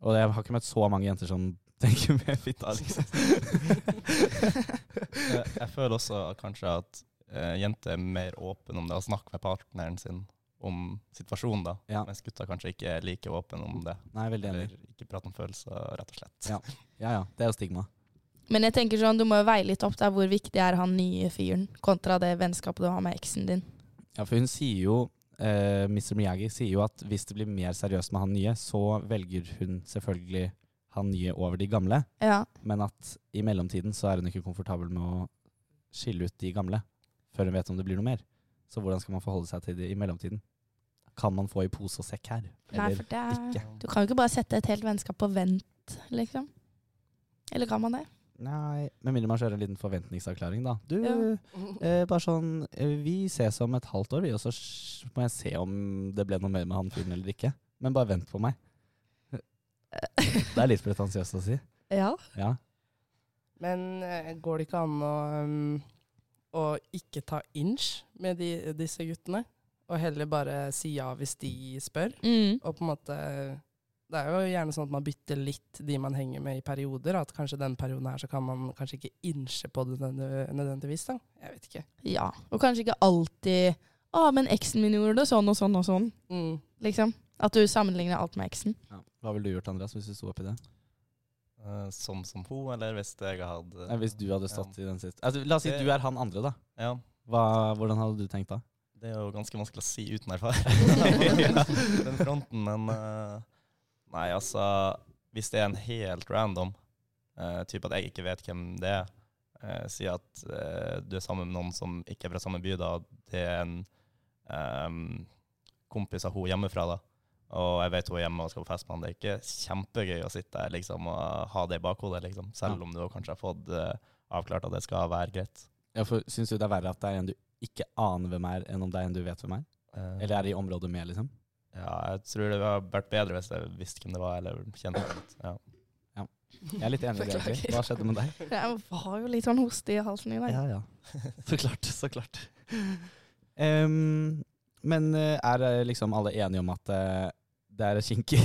Speaker 2: Og jeg har ikke møtt så mange jenter som tenker med fitta, liksom.
Speaker 5: Jeg, jeg føler også kanskje at eh, jenter er mer åpne om det, og snakker med partneren sin om situasjonen, da.
Speaker 2: Ja.
Speaker 5: Mens gutter kanskje ikke er like åpne om det.
Speaker 2: Nei, veldig enig.
Speaker 5: Eller ikke prater om følelser, rett og slett.
Speaker 2: Ja. Ja ja, det er jo stigma.
Speaker 3: Men jeg tenker sånn, du må jo veie litt opp der hvor viktig er han nye fyren, kontra det vennskapet du har med eksen din.
Speaker 2: Ja, for hun sier jo eh, Mr. Miyagi sier jo at hvis det blir mer seriøst med han nye, så velger hun selvfølgelig han nye over de gamle,
Speaker 3: Ja,
Speaker 2: men at i mellomtiden så er hun ikke komfortabel med å skille ut de gamle før hun vet om det blir noe mer. Så hvordan skal man forholde seg til det i mellomtiden? Kan man få i pose og sekk her?
Speaker 3: Nei,
Speaker 2: Eller
Speaker 3: for det er,
Speaker 2: ikke?
Speaker 3: Du kan jo ikke bare sette et helt vennskap på vent, liksom. Eller kan man det?
Speaker 2: Nei, med mindre man kjører en liten forventningsavklaring, da. Du,
Speaker 3: Ja.
Speaker 2: eh, bare sånn eh, Vi ses om et halvt år, vi, og så sj- må jeg se om det ble noe mer med han fyren eller ikke. Men bare vent på meg. Det er litt pretensiøst å si.
Speaker 3: ja.
Speaker 2: Ja.
Speaker 1: Men eh, går det ikke an å, um, å ikke ta inch med de, disse guttene? Og heller bare si ja hvis de spør?
Speaker 3: Mm.
Speaker 1: Og på en måte Det er jo gjerne sånn at man bytter litt de man henger med i perioder. At kanskje den perioden her så kan man kanskje ikke inche på det nødvendig- nødvendigvis. da. Jeg vet ikke.
Speaker 3: ja. Og kanskje ikke alltid Å, men eksen min gjorde det sånn og sånn og sånn,
Speaker 1: Mm.
Speaker 3: liksom. At du sammenligner alt med eksen.
Speaker 2: Hva ville du gjort, Andreas, hvis du sto oppi det?
Speaker 5: Eh, sånn som hun, eller hvis jeg hadde
Speaker 2: Nei, Eh, hvis du hadde stått i den siste altså, La oss si du er han andre, da.
Speaker 5: Ja.
Speaker 2: Hva, hvordan hadde du tenkt da?
Speaker 5: Det er jo ganske vanskelig å si uten erfaring. den fronten, men eh, Nei, altså Hvis det er en helt random uh, type at jeg ikke vet hvem det er eh, Si at eh, du er sammen med noen som ikke er fra samme by, da. og Det er en ehm, kompis av hun hjemmefra, da. Og jeg vet hun er hjemme og skal på fest med han. Det er ikke kjempegøy å sitte der liksom, og ha det i bakhodet, liksom. Selv om du kanskje har fått eh, avklart at det skal være greit.
Speaker 2: Ja, for Syns du det er verre at det er en du ikke aner hvem er, enn om det er en du vet hvem er?
Speaker 5: Eh,
Speaker 2: Eller er det i området med, liksom?
Speaker 5: Ja, jeg tror det hadde vært bedre hvis jeg visste hvem det var, eller kjente hvem det var.
Speaker 2: Jeg er litt enig i det. egentlig. Hva skjedde med deg?
Speaker 3: Jeg har jo litt sånn hoste i halsen i dag.
Speaker 2: Ja, ja. Så klart, så klart. Em, men eh, er eh, liksom alle enige om at eh, Det er kinkig.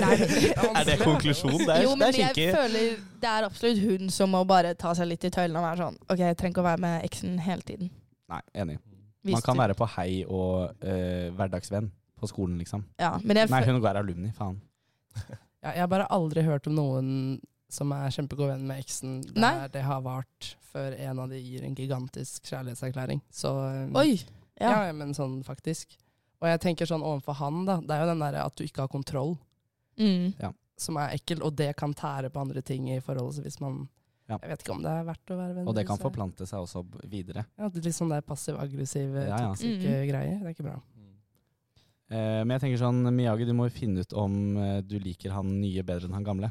Speaker 5: Er det konklusjonen? Det er,
Speaker 3: jo,
Speaker 5: det
Speaker 3: men
Speaker 5: er
Speaker 3: jeg
Speaker 5: kinkig.
Speaker 3: føler det er absolutt hun som må bare ta seg litt i tøylene og være sånn OK, jeg trenger ikke å være med eksen hele tiden.
Speaker 2: Nei, enig.
Speaker 3: Hvis
Speaker 2: Man kan
Speaker 3: du-
Speaker 2: være på hei og eh, hverdagsvenn på skolen, liksom.
Speaker 3: Ja, men jeg
Speaker 2: Nei,
Speaker 3: føl-
Speaker 2: hun går alumni, faen.
Speaker 1: Ja, jeg har bare aldri hørt om noen som er kjempegod venn med eksen der
Speaker 3: Nei.
Speaker 1: det har vart før en av de gir en gigantisk kjærlighetserklæring. Så um,
Speaker 3: Oi!
Speaker 1: ja.
Speaker 3: Ja.
Speaker 1: men sånn faktisk. Og jeg tenker sånn overfor han, da. Det er jo den derre at du ikke har kontroll,
Speaker 3: Mm.
Speaker 1: som er ekkel, og det kan tære på andre ting i forholdet. Så hvis man
Speaker 2: Ja.
Speaker 1: Jeg vet ikke om det er verdt å være venner.
Speaker 2: Og det kan
Speaker 1: så-
Speaker 2: forplante seg også b- videre.
Speaker 1: Ja, det er litt sånn der passiv-aggressiv,
Speaker 2: Ja, ja.
Speaker 1: toksiske
Speaker 3: Mm.
Speaker 1: greier. Det er ikke bra.
Speaker 2: Eh, men jeg tenker sånn, Miyagi, du må jo finne ut om eh, du liker han nye bedre enn han gamle.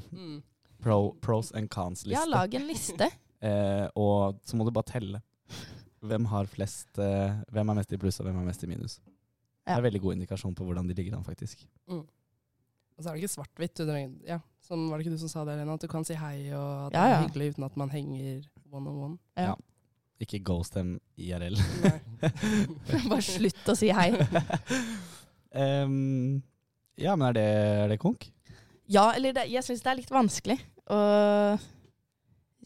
Speaker 2: Pro, pros and
Speaker 3: ja,
Speaker 2: cons-liste.
Speaker 3: lag en liste.
Speaker 2: Eh, og så må du bare telle. Hvem har flest eh, Hvem er mest i pluss, og hvem er mest i minus? Det
Speaker 3: Ja.
Speaker 2: er veldig god indikasjon på hvordan de ligger an, faktisk.
Speaker 1: Og så er det ikke svart-hvitt. du trenger- Ja, som var det ikke du som sa det, Lena? At du kan si hei og at
Speaker 3: Ja,
Speaker 1: det er
Speaker 3: ja.
Speaker 1: hyggelig uten at man henger one on one.
Speaker 2: Ikke ghost dem IRL.
Speaker 1: Nei.
Speaker 3: bare slutt å si hei.
Speaker 2: Em, ja, men er det, er det konk?
Speaker 3: Ja, eller det, jeg syns det er litt vanskelig å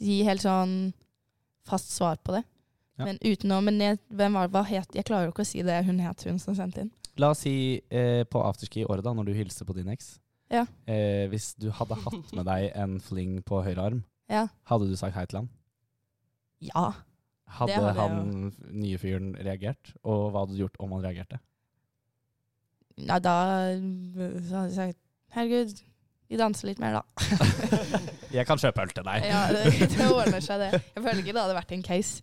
Speaker 3: gi helt sånn fast svar på det.
Speaker 2: Ja.
Speaker 3: Men utenom Men jeg, hvem var, hva het Jeg klarer jo ikke å si det hun het, hun som sendte inn.
Speaker 2: La oss si eh, på afterski i året, da, når du hilser på din eks.
Speaker 3: Ja.
Speaker 2: Eh, hvis du hadde hatt med deg en fling på høyre arm,
Speaker 3: Ja.
Speaker 2: hadde du sagt hei til han?
Speaker 3: ja.
Speaker 2: Hadde,
Speaker 3: Det hadde jeg
Speaker 2: han nye fyren reagert? Og hva hadde du gjort om han reagerte?
Speaker 3: Nei, da øh, så hadde jeg sagt Herregud, vi danser litt mer, da.
Speaker 2: Jeg kan kjøpe øl til deg.
Speaker 3: Ja, det, det ordner seg, det. Jeg føler ikke det hadde vært en case.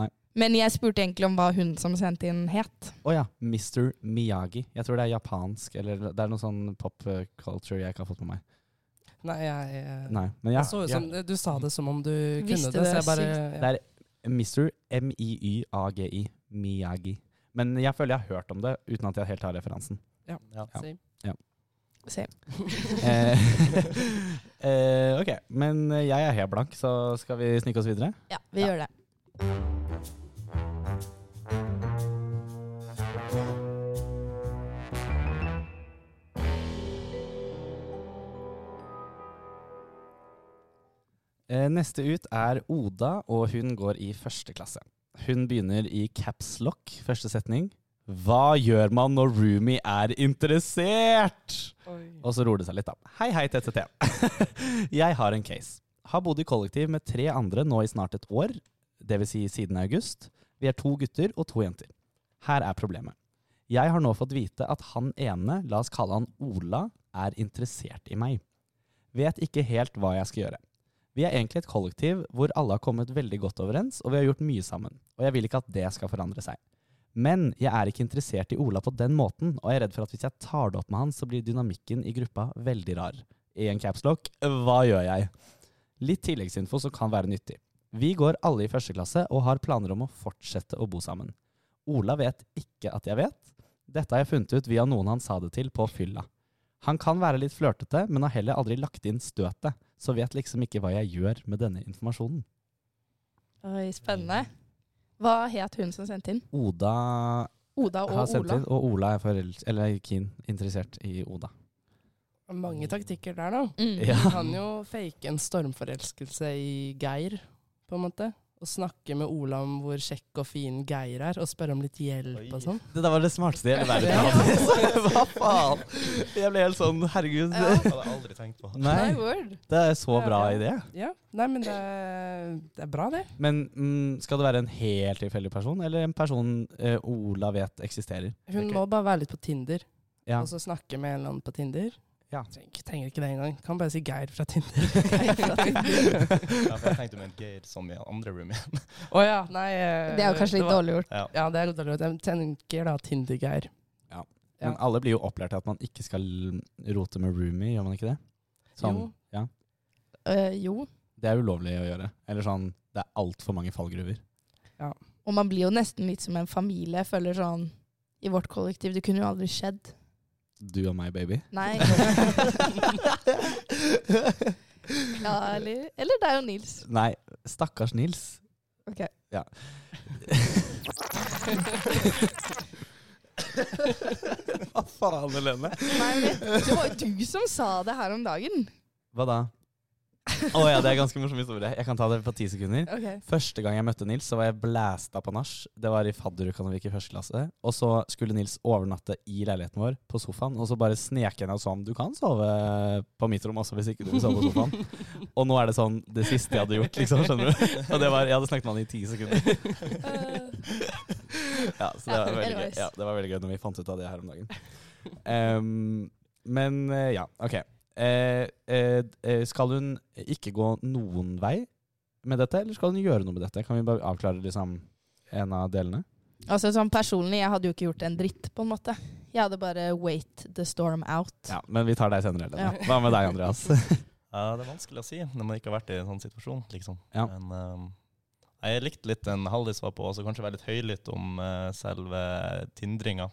Speaker 2: Nei.
Speaker 3: Men jeg spurte egentlig om hva hun som sendte inn, het.
Speaker 2: Å ja, Mr. Miyagi. Jeg tror det er japansk, eller det er noe sånn pop eh, culture jeg ikke har fått med meg.
Speaker 1: Nei, jeg, eh,
Speaker 2: Nei, men ja,
Speaker 1: jeg så ut som, Du sa det som om du
Speaker 3: Visste
Speaker 1: kunne det, så
Speaker 3: det
Speaker 1: jeg bare
Speaker 2: ja.
Speaker 1: ja.
Speaker 2: Det er Mr. M-I-Y-A-G-I. Miyagi. Men jeg føler jeg har hørt om det, uten at jeg helt har referansen.
Speaker 5: Ja.
Speaker 2: Ja.
Speaker 1: Same.
Speaker 3: Se.
Speaker 2: Eh, eh, ok, men jeg er helt blank, så skal vi snike oss videre?
Speaker 3: Ja, vi gjør det.
Speaker 2: Eh, Neste ut er Oda, og hun går i første klasse. Hun begynner i caps lock, første setning. Hva gjør man når roomie er interessert? Og så roer det seg litt, da. Hei, hei, TTT. jeg har en case. Har bodd i kollektiv med tre andre nå i snart et år, dvs. Si siden august. Vi er to gutter og to jenter. Her er problemet. Jeg har nå fått vite at han ene, la oss kalle han Ola, er interessert i meg. Vet ikke helt hva jeg skal gjøre. Vi er egentlig et kollektiv hvor alle har kommet veldig godt overens, og vi har gjort mye sammen. Og jeg vil ikke at det skal forandre seg. Men jeg er ikke interessert i Ola på den måten, og jeg er redd for at hvis jeg tar det opp med han, så blir dynamikken i gruppa veldig rar. I en capslock, hva gjør jeg? Litt tilleggsinfo som kan være nyttig. Vi går alle i første klasse og har planer om å fortsette å bo sammen. Ola vet ikke at jeg vet. Dette har jeg funnet ut via noen han sa det til på fylla. Han kan være litt flørtete, men har heller aldri lagt inn støtet, så vet liksom ikke hva jeg gjør med denne informasjonen.
Speaker 3: Oi, spennende. Hva het hun som sendte inn?
Speaker 2: Oda
Speaker 3: Oda
Speaker 2: har
Speaker 3: og
Speaker 2: sendt
Speaker 3: Ola.
Speaker 2: inn, og Ola er forels- eller keen interessert i Oda.
Speaker 1: Mange taktikker der, da.
Speaker 3: Mm.
Speaker 2: Ja.
Speaker 1: Du kan jo fake en stormforelskelse i Geir, på en måte. Og snakke med Ola om hvor kjekk og fin Geir er, og spørre om litt hjelp og sånn.
Speaker 2: Det der var det smarteste i hele verden.
Speaker 1: Ja.
Speaker 2: Anders. Hva faen? Jeg ble helt sånn herregud.
Speaker 3: Ja.
Speaker 5: Det hadde jeg aldri tenkt på.
Speaker 3: Nei,
Speaker 2: Nei,
Speaker 3: word.
Speaker 2: det er så bra idé.
Speaker 1: Ja, nei, men det er, det er bra, det.
Speaker 2: Men mm, skal det være en helt tilfeldig person, eller en person eh, Ola vet eksisterer?
Speaker 1: Hun
Speaker 2: Ok.
Speaker 1: må bare være litt på Tinder,
Speaker 2: Ja.
Speaker 1: og så snakke med en eller annen på Tinder.
Speaker 2: Ja.
Speaker 1: Trenger, trenger ikke det engang. Kan bare si Geir fra Tinder.
Speaker 5: Ja, for jeg tenkte du mente Geir som i andre room igjen.
Speaker 1: Å ja, nei eh,
Speaker 3: Det er jo kanskje litt
Speaker 1: var-
Speaker 3: dårlig gjort.
Speaker 5: Ja.
Speaker 1: Ja, det er dårlig. gjort. Jeg tenker da Tinder-Geir.
Speaker 2: Men alle blir jo opplært til at man ikke skal rote med roomie, gjør man ikke det? Sånn,
Speaker 1: Jo.
Speaker 2: ja.
Speaker 3: Eh, jo,
Speaker 2: Det er ulovlig å gjøre. Eller sånn, det er altfor mange fallgruver.
Speaker 3: og man blir jo nesten litt som en familie. Jeg føler sånn i vårt kollektiv. Det kunne jo aldri skjedd.
Speaker 2: Du og meg, baby.
Speaker 3: Nei. ja, eller, eller deg og Nils.
Speaker 2: Nei, stakkars Nils.
Speaker 3: Ok.
Speaker 2: Ja.
Speaker 5: Hva faen, Anne Lene?
Speaker 3: Nei, men det var jo du som sa det her om dagen.
Speaker 2: Hva da? Å ja, det er ganske morsom historie. Jeg kan ta det på ti sekunder.
Speaker 3: Ok.
Speaker 2: Første gang jeg møtte Nils, så var jeg blæsta på nach. Det var i fadderuka når vi gikk i første klasse. Og så skulle Nils overnatte i leiligheten vår, på sofaen. Og så bare snek jeg ned og sa han du kan sove på mitt rom også, hvis ikke du vil sove på sofaen. og nå er det sånn det siste jeg hadde gjort, liksom. Skjønner du? Og det var, jeg hadde snakket med han i ti sekunder. Ja, så det
Speaker 3: Ja,
Speaker 2: var veldig gøy.
Speaker 3: anyways.
Speaker 2: Ja, det var veldig gøy når vi fant ut av det her om dagen. Ehm, men eh, ja, OK. Eh, eh, eh, skal hun ikke gå noen vei med dette, eller skal hun gjøre noe med dette? Kan vi bare avklare liksom en av delene?
Speaker 3: Altså sånn Personlig, jeg hadde jo ikke gjort en dritt, på en måte. Jeg hadde bare wait the storm out.
Speaker 2: Ja, Men vi tar deg senere. Lene.
Speaker 3: Ja.
Speaker 2: Hva med deg, Andreas?
Speaker 5: Ja, det er vanskelig å si når man ikke har vært i en sånn situasjon, liksom.
Speaker 2: Ja.
Speaker 5: Men eh, jeg likte litt den Haldis var på, og så kanskje være litt høylytt om eh, selve tindringa.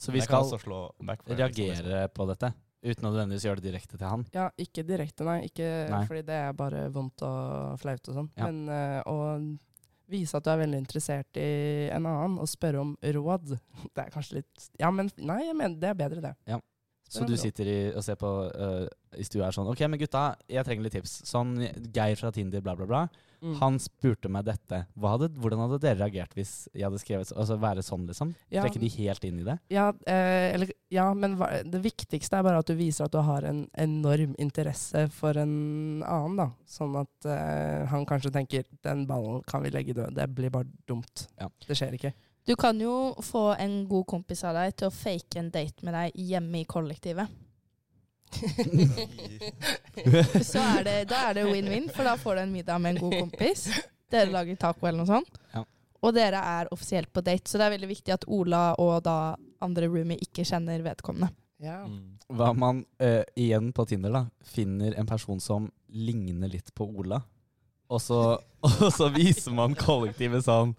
Speaker 2: Så vi
Speaker 5: jeg kan
Speaker 2: skal
Speaker 5: også slå backfire. Liksom.
Speaker 2: reagere på dette, uten å nødvendigvis gjøre det direkte til han.
Speaker 1: Ja, ikke direkte, nei. Ikke,
Speaker 2: Nei.
Speaker 1: Fordi det er bare vondt og flaut og sånn.
Speaker 2: Ja.
Speaker 1: Men eh, å vise at du er veldig interessert i en annen, og spørre om råd, det er kanskje litt Ja, men nei, jeg mener, det er bedre, det.
Speaker 2: Ja.
Speaker 1: Spør
Speaker 2: Så
Speaker 1: om
Speaker 2: du
Speaker 1: råd.
Speaker 2: sitter i, og ser på øh, i stua er sånn OK, men gutta, jeg trenger litt tips. Sånn Geir fra Tinder, bla, bla, bla.
Speaker 1: Mm.
Speaker 2: Han spurte meg dette. Hva hadde, hvordan hadde dere reagert hvis jeg hadde skrevet så- Altså være sånn, liksom?
Speaker 1: Ja.
Speaker 2: Trekke de helt inn i det?
Speaker 1: Ja, eh, eller, ja, men hva, det viktigste er bare at du viser at du har en enorm interesse for en annen, da. Sånn at eh, han kanskje tenker 'den ballen kan vi legge død'. Det blir bare dumt.
Speaker 2: Ja.
Speaker 1: Det skjer ikke.
Speaker 3: Du kan jo få en god kompis av deg til å fake en date med deg hjemme i kollektivet. Så er det, da er det win-win, for da får du en middag med en god kompis. Dere lager taco eller noe sånt.
Speaker 2: Ja.
Speaker 3: Og dere er offisielt på date, så det er veldig viktig at Ola og da andre roomie ikke kjenner vedkommende.
Speaker 1: Ja.
Speaker 5: Mm.
Speaker 2: Hva om man øh, igjen på Tinder da finner en person som ligner litt på Ola, og så, og så viser man kollektivet sånn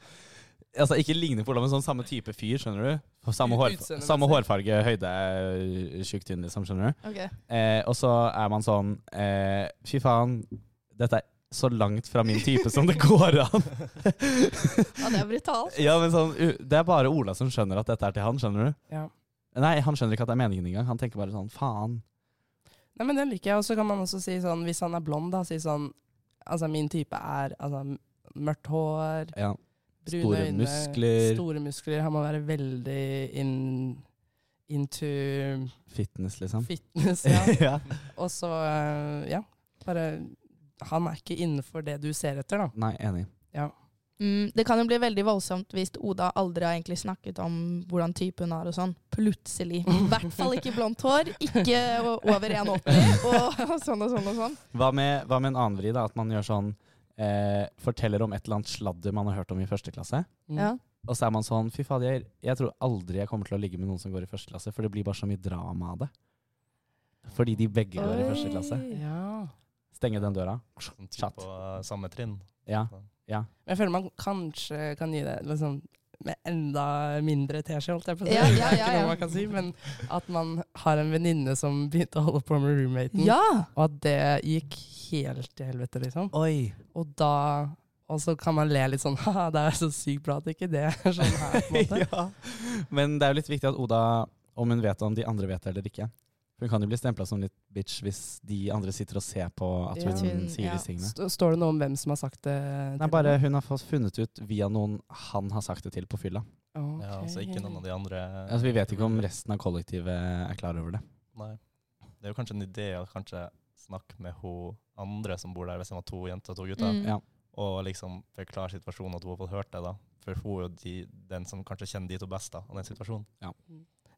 Speaker 2: Altså ikke ligner på Ola, men sånn samme type fyr, skjønner du? Og Samme, hårf
Speaker 1: Utseendemessig.
Speaker 2: samme hårfarge, høyde, øh, tjukk, tynn, liksom, skjønner du? Eh, og så er man sånn eh, Fy faen, dette er så langt fra min type som det går an.
Speaker 3: Ja, det er brutalt.
Speaker 2: Ja, men sånn, u- Det er bare Ola som skjønner at dette er til han, skjønner du?
Speaker 1: Ja.
Speaker 2: Nei, han skjønner ikke at det er meningen engang. Han tenker bare sånn faen.
Speaker 1: Nei, men den liker jeg. Og så kan man også si sånn, hvis han er blond, da, si sånn Altså, min type er altså, m- mørkt hår,
Speaker 2: Ja.
Speaker 1: brune
Speaker 2: Store
Speaker 1: øyne,
Speaker 2: muskler.
Speaker 1: Store muskler. Han må være veldig in, into
Speaker 2: Fitness, liksom.
Speaker 1: fitness, ja.
Speaker 2: ja.
Speaker 1: Og så, eh, ja, bare Han er ikke innenfor det du ser etter, da.
Speaker 2: Nei, enig.
Speaker 3: Mm, det kan jo bli veldig voldsomt hvis Oda aldri har egentlig snakket om hvordan type hun har og sånn. Plutselig. I hvert fall ikke blondt hår, ikke o- over 1,80 og sånn og sånn og sånn.
Speaker 2: Hva med, hva med en annen vri, da? At man gjør sånn eh, Forteller om et eller annet sladder man har hørt om i første klasse.
Speaker 1: Mm.
Speaker 3: Ja.
Speaker 2: Og så er man sånn Fy fader, jeg, jeg tror aldri jeg kommer til å ligge med noen som går i første klasse, for det blir bare så mye drama av det. Fordi de begge går i første klasse.
Speaker 1: Ja.
Speaker 2: Stenge den døra.
Speaker 5: Sånn typ
Speaker 2: Chat.
Speaker 5: på eh, samme trinn.
Speaker 2: Ja.
Speaker 1: Men jeg føler man kanskje kan gi det liksom, med enda mindre teskje, holdt jeg på å si.
Speaker 3: Ja, ja,
Speaker 1: Det er
Speaker 3: ja,
Speaker 1: ikke
Speaker 3: ja.
Speaker 1: noe man kan si, men at man har en venninne som begynte å holde på med roommaten,
Speaker 3: Ja!
Speaker 1: og at det gikk helt til helvete, liksom.
Speaker 2: Oi.
Speaker 1: Og da og så kan man le litt sånn Haha, det er så sykt bra at ikke det er sånn her, på en måte.
Speaker 2: ja. Men det er jo litt viktig at Oda, om hun vet om de andre vet det eller ikke Hun kan jo bli stempla som litt bitch hvis de andre sitter og ser på at
Speaker 1: Ja.
Speaker 2: hun
Speaker 3: Hun-
Speaker 2: sier
Speaker 3: ja.
Speaker 2: disse tingene.
Speaker 1: St- Står det noe om hvem som har sagt det?
Speaker 2: Nei, bare hun har fått funnet ut via noen han har sagt det til på fylla.
Speaker 5: Ja, så ikke noen av de andre eh,
Speaker 2: Altså, vi vet ikke om resten av kollektivet er klar over det.
Speaker 5: Nei. Det er jo kanskje en idé å kanskje snakke med hun andre som bor der, hvis de har to jenter og to gutter,
Speaker 3: Mm.
Speaker 2: Ja.
Speaker 5: og liksom forklare situasjonen, at hun har fått hørt det, da. For hun er jo de, den som kanskje kjenner de to best, da, av den situasjonen.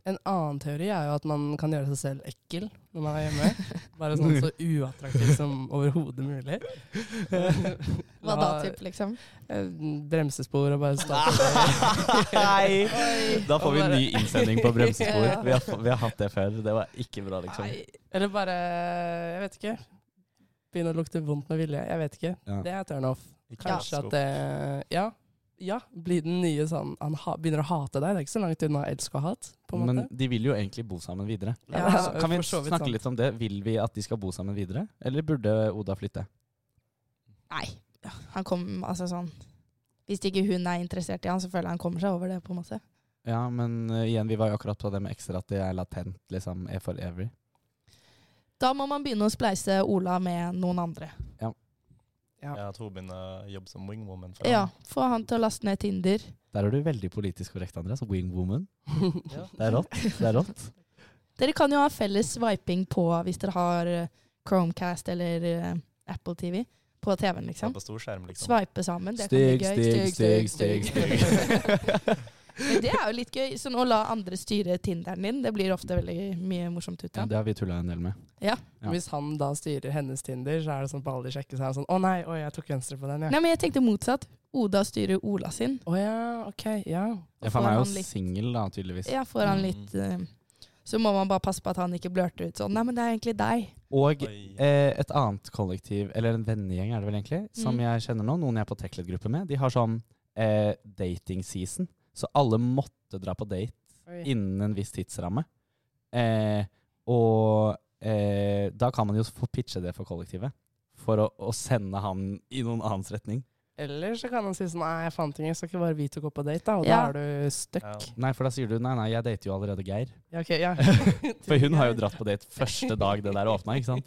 Speaker 1: En annen teori er jo at man kan gjøre seg selv ekkel når man er hjemme. Bare sånn så uattraktiv som overhodet mulig.
Speaker 3: Hva da, typ, liksom?
Speaker 1: Eh, Bremsespor og bare starte.
Speaker 2: Nei! Da får vi en ny innsending på bremsespor.
Speaker 1: Ja.
Speaker 2: Vi har, vi har hatt det før. Det var ikke bra, liksom.
Speaker 1: Nei. Eller bare Jeg vet ikke. Begynne å lukte vondt med vilje. Jeg vet ikke.
Speaker 2: Ja.
Speaker 1: Det er turn off.
Speaker 5: Ikke
Speaker 1: Kanskje
Speaker 5: sko.
Speaker 1: at det Ja. Ja, blir den nye sånn Han ha, begynner å hate deg. Det er ikke så langt unna elsk og hat. på en
Speaker 2: Men
Speaker 1: måte.
Speaker 2: de vil jo egentlig bo sammen videre.
Speaker 1: Ja,
Speaker 2: Så kan vi
Speaker 1: for så vidt
Speaker 2: snakke
Speaker 1: sant.
Speaker 2: litt om det? Vil vi at de skal bo sammen videre, eller burde Oda flytte?
Speaker 3: Nei. Han kom, altså sånn Hvis ikke hun er interessert i han, så føler jeg han kommer seg over det, på en måte.
Speaker 2: Ja, men eh, igjen, vi var jo akkurat på det med ekstra at det er latent, liksom. Er for every.
Speaker 3: Da må man begynne å spleise Ola med noen andre.
Speaker 1: Ja.
Speaker 5: Jeg tror hun begynner å jobbe som wingwoman. for
Speaker 3: Ja,
Speaker 5: han.
Speaker 3: Få han til å laste ned Tinder.
Speaker 2: Der er du veldig politisk korrekt, Andreas. Wingwoman. Det er rått. Det er rått.
Speaker 3: Dere kan jo ha felles swiping på hvis dere har eh, Chromecast eller eh, Apple TV på TV-en,
Speaker 5: Ja,
Speaker 3: liksom.
Speaker 5: På storskjerm, liksom.
Speaker 3: Swipe sammen. Det
Speaker 2: Stig,
Speaker 3: kan bli gøy.
Speaker 2: stig, stig, stig,
Speaker 3: Men det er jo litt gøy. Sånn å la andre styre Tinderen din, det blir ofte veldig mye morsomt ut
Speaker 2: Ja,
Speaker 3: av.
Speaker 2: det har vi tulla en del med. Ja.
Speaker 1: Hvis han da styrer hennes Tinder, så er det sånn på alle sjekker, så er det sånn Å nei, oi, jeg tok venstre på den, ja.
Speaker 3: Nei, men jeg tenkte motsatt. Oda styrer Ola sin.
Speaker 1: Å ja, ok, ja.
Speaker 2: Ja, for han er
Speaker 3: får
Speaker 2: jo
Speaker 3: han litt-
Speaker 2: singel, da, tydeligvis.
Speaker 3: Ja, får han
Speaker 5: Mm.
Speaker 3: litt eh, Så må man bare passe på at han ikke blørter ut sånn. Nei, men det er egentlig deg.
Speaker 2: Og
Speaker 5: Oi.
Speaker 2: eh, et annet kollektiv, eller en vennegjeng er det vel egentlig, som
Speaker 3: Mm.
Speaker 2: jeg kjenner nå, noen jeg er på Techlet-gruppe med, de har sånn eh, dating season. Så alle måtte dra på date
Speaker 1: Oi.
Speaker 2: innen en viss tidsramme. Eh, og eh, da kan man jo få pitche det for kollektivet. For å, å sende han i noen annens retning.
Speaker 1: Eller så kan han si sånn Nei, jeg fant ingen, skal ikke bare vi to gå på date, da? Og
Speaker 3: Ja.
Speaker 1: da er du stuck.
Speaker 5: Ja.
Speaker 2: Nei, for da sier du nei, nei, jeg dater jo allerede Geir.
Speaker 1: Ja, ok, ja.
Speaker 2: For hun har jo dratt på date første dag det der åpna, ikke sant.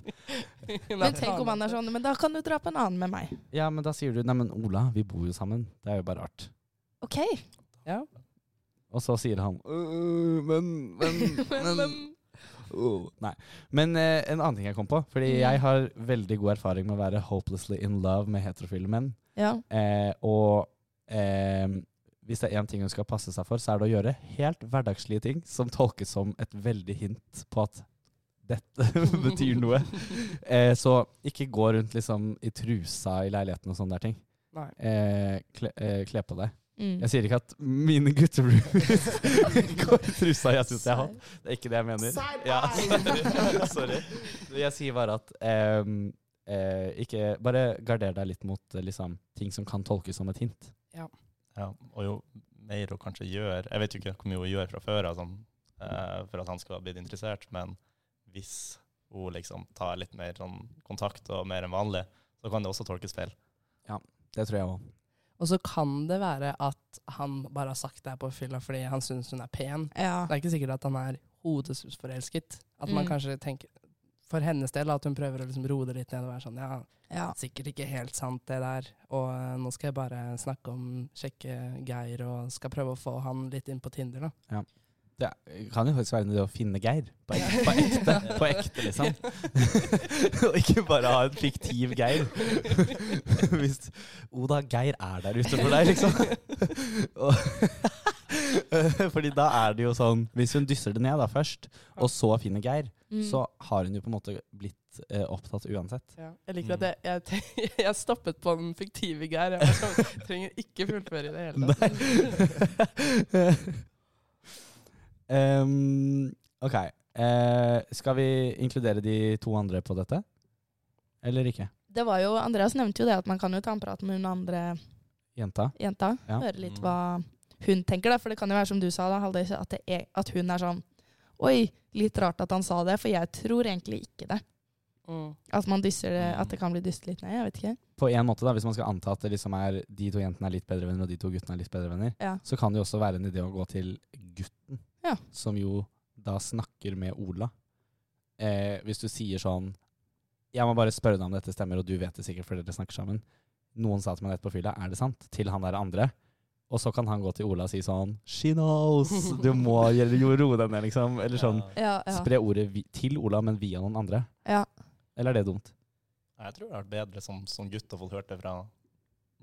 Speaker 3: Men tenk om han er sånn Men da kan du dra på en annen med meg.
Speaker 2: Ja, men da sier du nei, men Ola, vi bor jo sammen. Det er jo bare rart.
Speaker 3: OK.
Speaker 2: Og så sier han «Øh, men, men, men Åh, Nei. Men eh, en annen ting jeg kom på. Fordi
Speaker 3: Mm.
Speaker 2: jeg har veldig god erfaring med å være hopelessly in love med heterofile menn.
Speaker 3: Ja.
Speaker 2: Eh, og eh, hvis det er én ting hun skal passe seg for, så er det å gjøre helt hverdagslige ting som tolkes som et veldig hint på at dette betyr noe. Eh, så ikke gå rundt liksom i trusa i leiligheten og sånne der ting.
Speaker 1: Nei.
Speaker 2: Eh, kle, eh, kle på deg.
Speaker 3: Mm.
Speaker 2: Jeg sier ikke at mine gutteroomies går i trusa jeg syns jeg har. Det er ikke det jeg mener. Ja, sorry. sorry. Jeg sier bare at ehm, eh, ikke, Bare garder deg litt mot eh, liksom, ting som kan tolkes som et hint.
Speaker 5: Ja, og jo mer hun kanskje gjør Jeg vet jo ikke hvor mye hun gjør fra før altså, eh, for at han skal ha blitt interessert, men hvis hun liksom tar litt mer sånn, kontakt og mer enn vanlig, så kan det også tolkes feil.
Speaker 2: Det tror jeg òg.
Speaker 1: Og så kan det være at han bare har sagt det her på fylla fordi han syns hun er pen.
Speaker 3: Ja.
Speaker 1: Det er ikke sikkert at han er hodesusforelsket. At man
Speaker 3: Mm.
Speaker 1: kanskje tenker for hennes del at hun prøver å liksom roe det litt ned og være sånn Ja,
Speaker 3: ja.
Speaker 1: sikkert ikke helt sant, det der. Og eh, nå skal jeg bare snakke om sjekke Geir, og skal prøve å få han litt inn på Tinder, da.
Speaker 2: Det kan jo faktisk være noe det å finne Geir. På ekte, på ekte, på ekte liksom. Og ikke bare ha en fiktiv Geir. Hvis Oda, Geir er der ute for deg, liksom. Og- Fordi da er det jo sånn Hvis hun dysser det ned da først, og så finner Geir,
Speaker 3: Mm.
Speaker 2: så har hun jo på en måte blitt eh, opptatt uansett.
Speaker 1: Jeg liker at jeg, jeg, tenk- jeg stoppet på den fiktive Geir. Jeg var sånn, trenger ikke fullføre i det hele tatt.
Speaker 2: Em, ok. Eh, skal vi inkludere de to andre på dette? Eller ikke?
Speaker 3: Det var jo, Andreas nevnte jo det at man kan jo ta en prat med hun andre
Speaker 2: Jenta?
Speaker 3: jenta.
Speaker 2: Ja.
Speaker 3: Høre litt
Speaker 5: Mm.
Speaker 3: hva hun tenker, da. For det kan jo være som du sa, da, Haldis, at, det er, at hun er sånn Oi, litt rart at han sa det, for jeg tror egentlig ikke det.
Speaker 1: Mm.
Speaker 3: At, man dysser, det-
Speaker 5: Mm.
Speaker 3: at det kan bli dysset litt ned. Jeg vet ikke.
Speaker 2: På en måte da, Hvis man skal anta at det liksom er de to jentene er litt bedre venner, og de to guttene er litt bedre venner,
Speaker 3: Ja.
Speaker 2: så kan det jo også være en idé å gå til gutten,
Speaker 3: Ja.
Speaker 2: som jo da snakker med Ola. Eh, hvis du sier sånn Jeg må bare spørre deg om dette stemmer, og du vet det sikkert fordi dere snakker sammen. Noen sa til meg dette på fylla, er det sant? Til han der andre. Og så kan han gå til Ola og si sånn She knows! Du må gjøre- jo roe deg ned, liksom. Eller sånn.
Speaker 3: Ja,
Speaker 5: Ja.
Speaker 3: ja.
Speaker 2: Spre ordet vi, til Ola, men via noen andre.
Speaker 3: ja.
Speaker 2: Eller er det dumt?
Speaker 5: Eh, Jeg tror det har vært bedre som, som gutt å få hørt det fra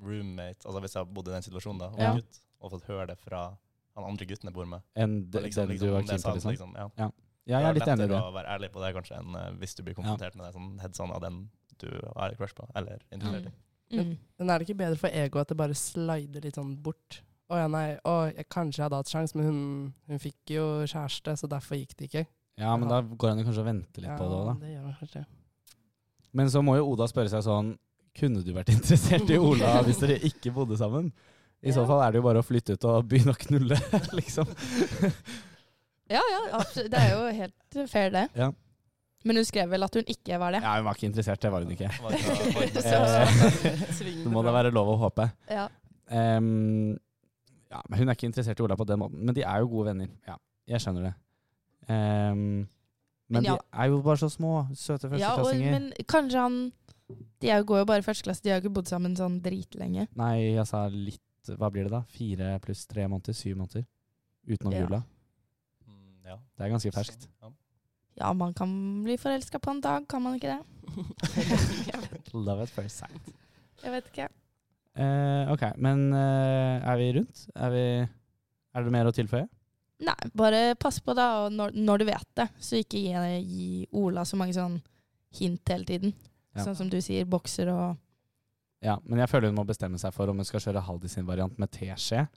Speaker 5: roommate, altså hvis jeg har bodd i den situasjonen da, og
Speaker 2: Ja.
Speaker 5: gutt, og fått høre det fra han andre gutten jeg bor med.
Speaker 2: Enn de-
Speaker 5: Og liksom-
Speaker 2: den
Speaker 5: liksom,
Speaker 2: du var
Speaker 5: om det er
Speaker 2: keen på,
Speaker 5: sant,
Speaker 2: liksom.
Speaker 5: liksom, ja.
Speaker 2: Ja, jeg er
Speaker 5: Det
Speaker 2: litt enig i
Speaker 5: lettere
Speaker 2: det.
Speaker 5: å være ærlig på det kanskje enn eh, hvis du blir konfrontert med det sånn heads on av den du har crush på, eller interessert i.
Speaker 3: Mm.
Speaker 1: Men er det ikke bedre for egoet at det bare slider litt sånn bort? Å ja, nei, å, jeg kanskje hadde hatt sjans, men hun, hun fikk jo kjæreste, så derfor gikk det ikke.
Speaker 2: Ja, men da går han jo kanskje og venter litt
Speaker 1: ja,
Speaker 2: på det òg, da.
Speaker 1: det gjør han kanskje.
Speaker 2: Men så må jo Oda spørre seg sånn Kunne du vært interessert i Ola hvis dere ikke bodde sammen? I så
Speaker 3: Ja.
Speaker 2: fall er det jo bare å flytte ut og begynne å knulle, liksom.
Speaker 3: ja, ja. Absolutt. Det er jo helt fair, det.
Speaker 2: Ja.
Speaker 3: Men hun skrev vel at hun ikke var det.
Speaker 2: Ja, hun var ikke interessert, det var hun ikke.
Speaker 5: Var ikke-
Speaker 2: Eh,
Speaker 5: var ikke-
Speaker 3: Så-
Speaker 2: Det må da være lov å håpe.
Speaker 3: Ja.
Speaker 2: Em, Ja, men Hun er ikke interessert i Ola på den måten, men de er jo gode venner. Ja, Jeg skjønner det. Ehm, men
Speaker 3: Men ja.
Speaker 2: de er jo bare så små, søte
Speaker 3: Ja, og,
Speaker 2: førsteklassinger.
Speaker 3: men kanskje han De er jo- går jo bare i første klasse, de har jo ikke bodd sammen sånn dritlenge.
Speaker 2: Nei, jeg sa litt Hva blir det da? Fire pluss tre måneder? Syv måneder? Utenom
Speaker 3: Ja.
Speaker 2: jula.
Speaker 5: Mm, ja.
Speaker 2: Det er ganske ferskt.
Speaker 5: Ja.
Speaker 3: Ja, man kan bli forelska på en dag, kan man ikke det?
Speaker 2: Love at first sight.
Speaker 3: Jeg vet ikke.
Speaker 2: Eh, ok, men eh, er vi rundt? Er, vi, er det mer å tilføye?
Speaker 3: Nei, bare pass på da, og når, når du vet det, så ikke gi, gi Ola så mange sånn hint hele tiden.
Speaker 2: Ja.
Speaker 3: Sånn som du sier, bokser og
Speaker 2: Ja, men jeg føler hun må bestemme seg for om hun skal kjøre Haldi sin variant med teskje.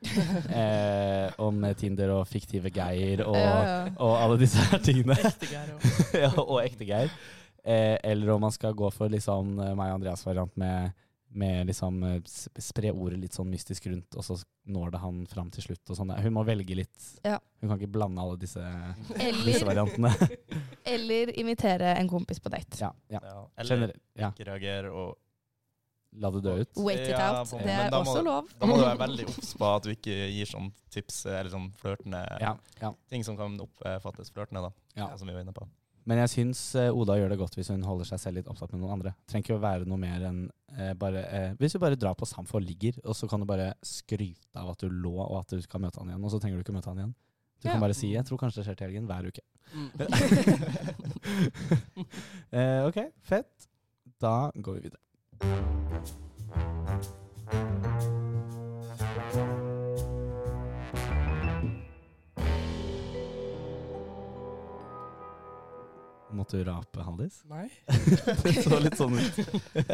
Speaker 2: eh, om Tinder og fiktive Geir og,
Speaker 3: Ja, ja.
Speaker 2: og alle disse her tingene.
Speaker 1: Ektegeir og
Speaker 2: ja, og ekte Geir. Eh, eller om man skal gå for liksom eh, meg og Andreas variant med, med liksom eh, s- spre ordet litt sånn mystisk rundt, og så når det han fram til slutt og sånn. Hun må velge litt.
Speaker 3: Ja.
Speaker 2: Hun kan ikke blande alle disse, disse
Speaker 3: Eller,
Speaker 2: variantene.
Speaker 3: eller invitere en kompis på date.
Speaker 2: ja, ja.
Speaker 5: Ja. Eller
Speaker 2: Generell, ja.
Speaker 5: ikke reagere og
Speaker 2: La det dø ut.
Speaker 3: Wait it
Speaker 5: Ja,
Speaker 3: out.
Speaker 5: på-
Speaker 3: Det
Speaker 5: men
Speaker 3: er
Speaker 5: da må
Speaker 3: også
Speaker 5: du-
Speaker 3: lov.
Speaker 5: Da må du være veldig obs på at du ikke gir sånn tips eh, eller sånn flørtende
Speaker 2: Ja, ja.
Speaker 5: ting som kan oppfattes flørtende, da.
Speaker 2: Ja.
Speaker 5: Som vi var inne på.
Speaker 2: Men jeg syns eh, Oda gjør det godt hvis hun holder seg selv litt opptatt med noen andre. Trenger ikke å være noe mer enn eh, bare eh, Hvis du bare drar på Samf og ligger, og så kan du bare skryte av at du lå, og at du skal møte han igjen, og så trenger du ikke møte han igjen. Du
Speaker 3: Ja.
Speaker 2: kan bare si 'jeg tror kanskje det skjer til helgen' hver uke.
Speaker 1: Mm.
Speaker 2: Eh, ok, fett. Da går vi videre. Måtte du rape, Haldis?
Speaker 1: Nei,
Speaker 2: Det så litt sånn ut.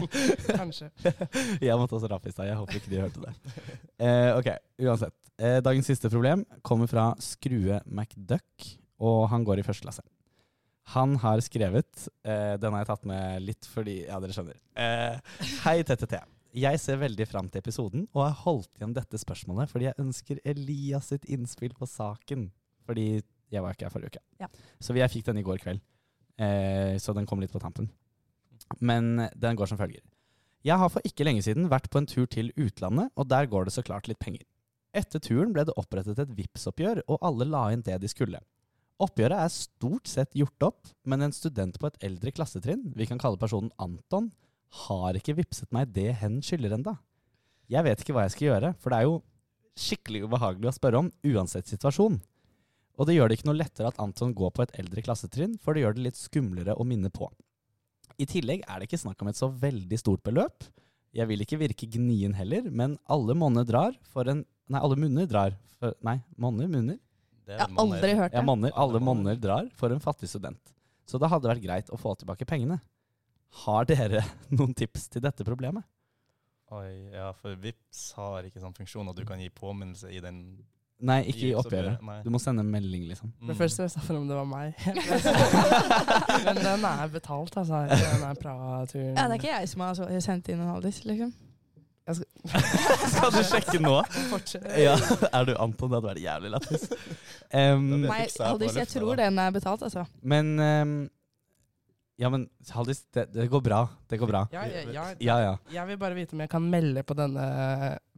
Speaker 1: kanskje.
Speaker 2: Jeg måtte også rape i stad. Jeg håper ikke de hørte det. Eh, ok, uansett. Eh, dagens siste problem kommer fra Skrue McDuck, og han går i første klasse. Han har skrevet eh, Den har jeg tatt med litt fordi Ja, dere skjønner. Eh, hei, TTT. Jeg ser veldig fram til episoden og har holdt igjen dette spørsmålet fordi jeg ønsker Elias sitt innspill på saken. Fordi jeg var ikke her forrige uke.
Speaker 3: Ja.
Speaker 2: Så jeg fikk den i går kveld. Eh, så den kom litt på tampen. Men den går som følger. Jeg har for ikke lenge siden vært på en tur til utlandet, og der går det så klart litt penger. Etter turen ble det opprettet et Vipps-oppgjør, og alle la inn det de skulle. Oppgjøret er stort sett gjort opp, men en student på et eldre klassetrinn, vi kan kalle personen Anton, har ikke vippset meg det hen skylder enda. Jeg vet ikke hva jeg skal gjøre, for det er jo skikkelig ubehagelig å spørre om, uansett situasjon. Og det gjør det ikke noe lettere at Anton går på et eldre klassetrinn, for det gjør det litt skumlere å minne på. I tillegg er det ikke snakk om et så veldig stort beløp. Jeg vil ikke virke gnien heller, men alle monner drar for en Nei, alle munner drar for Nei, monner, munner?
Speaker 5: Det er
Speaker 3: Jeg har
Speaker 5: noen
Speaker 3: aldri
Speaker 5: mer.
Speaker 3: hørt
Speaker 2: Ja,
Speaker 3: det.
Speaker 2: monner. Alle monner drar for en fattig student. Så det hadde vært greit å få tilbake pengene. Har dere noen tips til dette problemet?
Speaker 5: Oi, ja, for Vips har ikke sånn funksjon at du kan gi påminnelse i den
Speaker 2: Nei, ikke i
Speaker 5: Vipps-oppgjøret.
Speaker 2: oppgjøret.
Speaker 5: Nei.
Speaker 2: Du må sende en melding, liksom.
Speaker 5: Mm.
Speaker 1: Men først stressa for om det var meg. Men den er betalt, altså. Den er Praha-turen.
Speaker 3: Ja, det er ikke jeg som har så- sendt inn en Haldis, liksom.
Speaker 2: Skal du sjekke nå?
Speaker 1: Fortsett.
Speaker 2: Ja, er du Anton? Det hadde vært jævlig lættis. Um,
Speaker 5: Det
Speaker 3: Nei,
Speaker 5: fikser jeg på
Speaker 3: Haldis, jeg
Speaker 5: lufta,
Speaker 3: tror
Speaker 5: da.
Speaker 3: den er betalt, altså.
Speaker 2: men ehm, Ja, men Haldis, det, det går bra. Det går bra.
Speaker 1: Ja, ja, ja.
Speaker 2: Ja, ja.
Speaker 1: Jeg vil bare vite om jeg kan melde på denne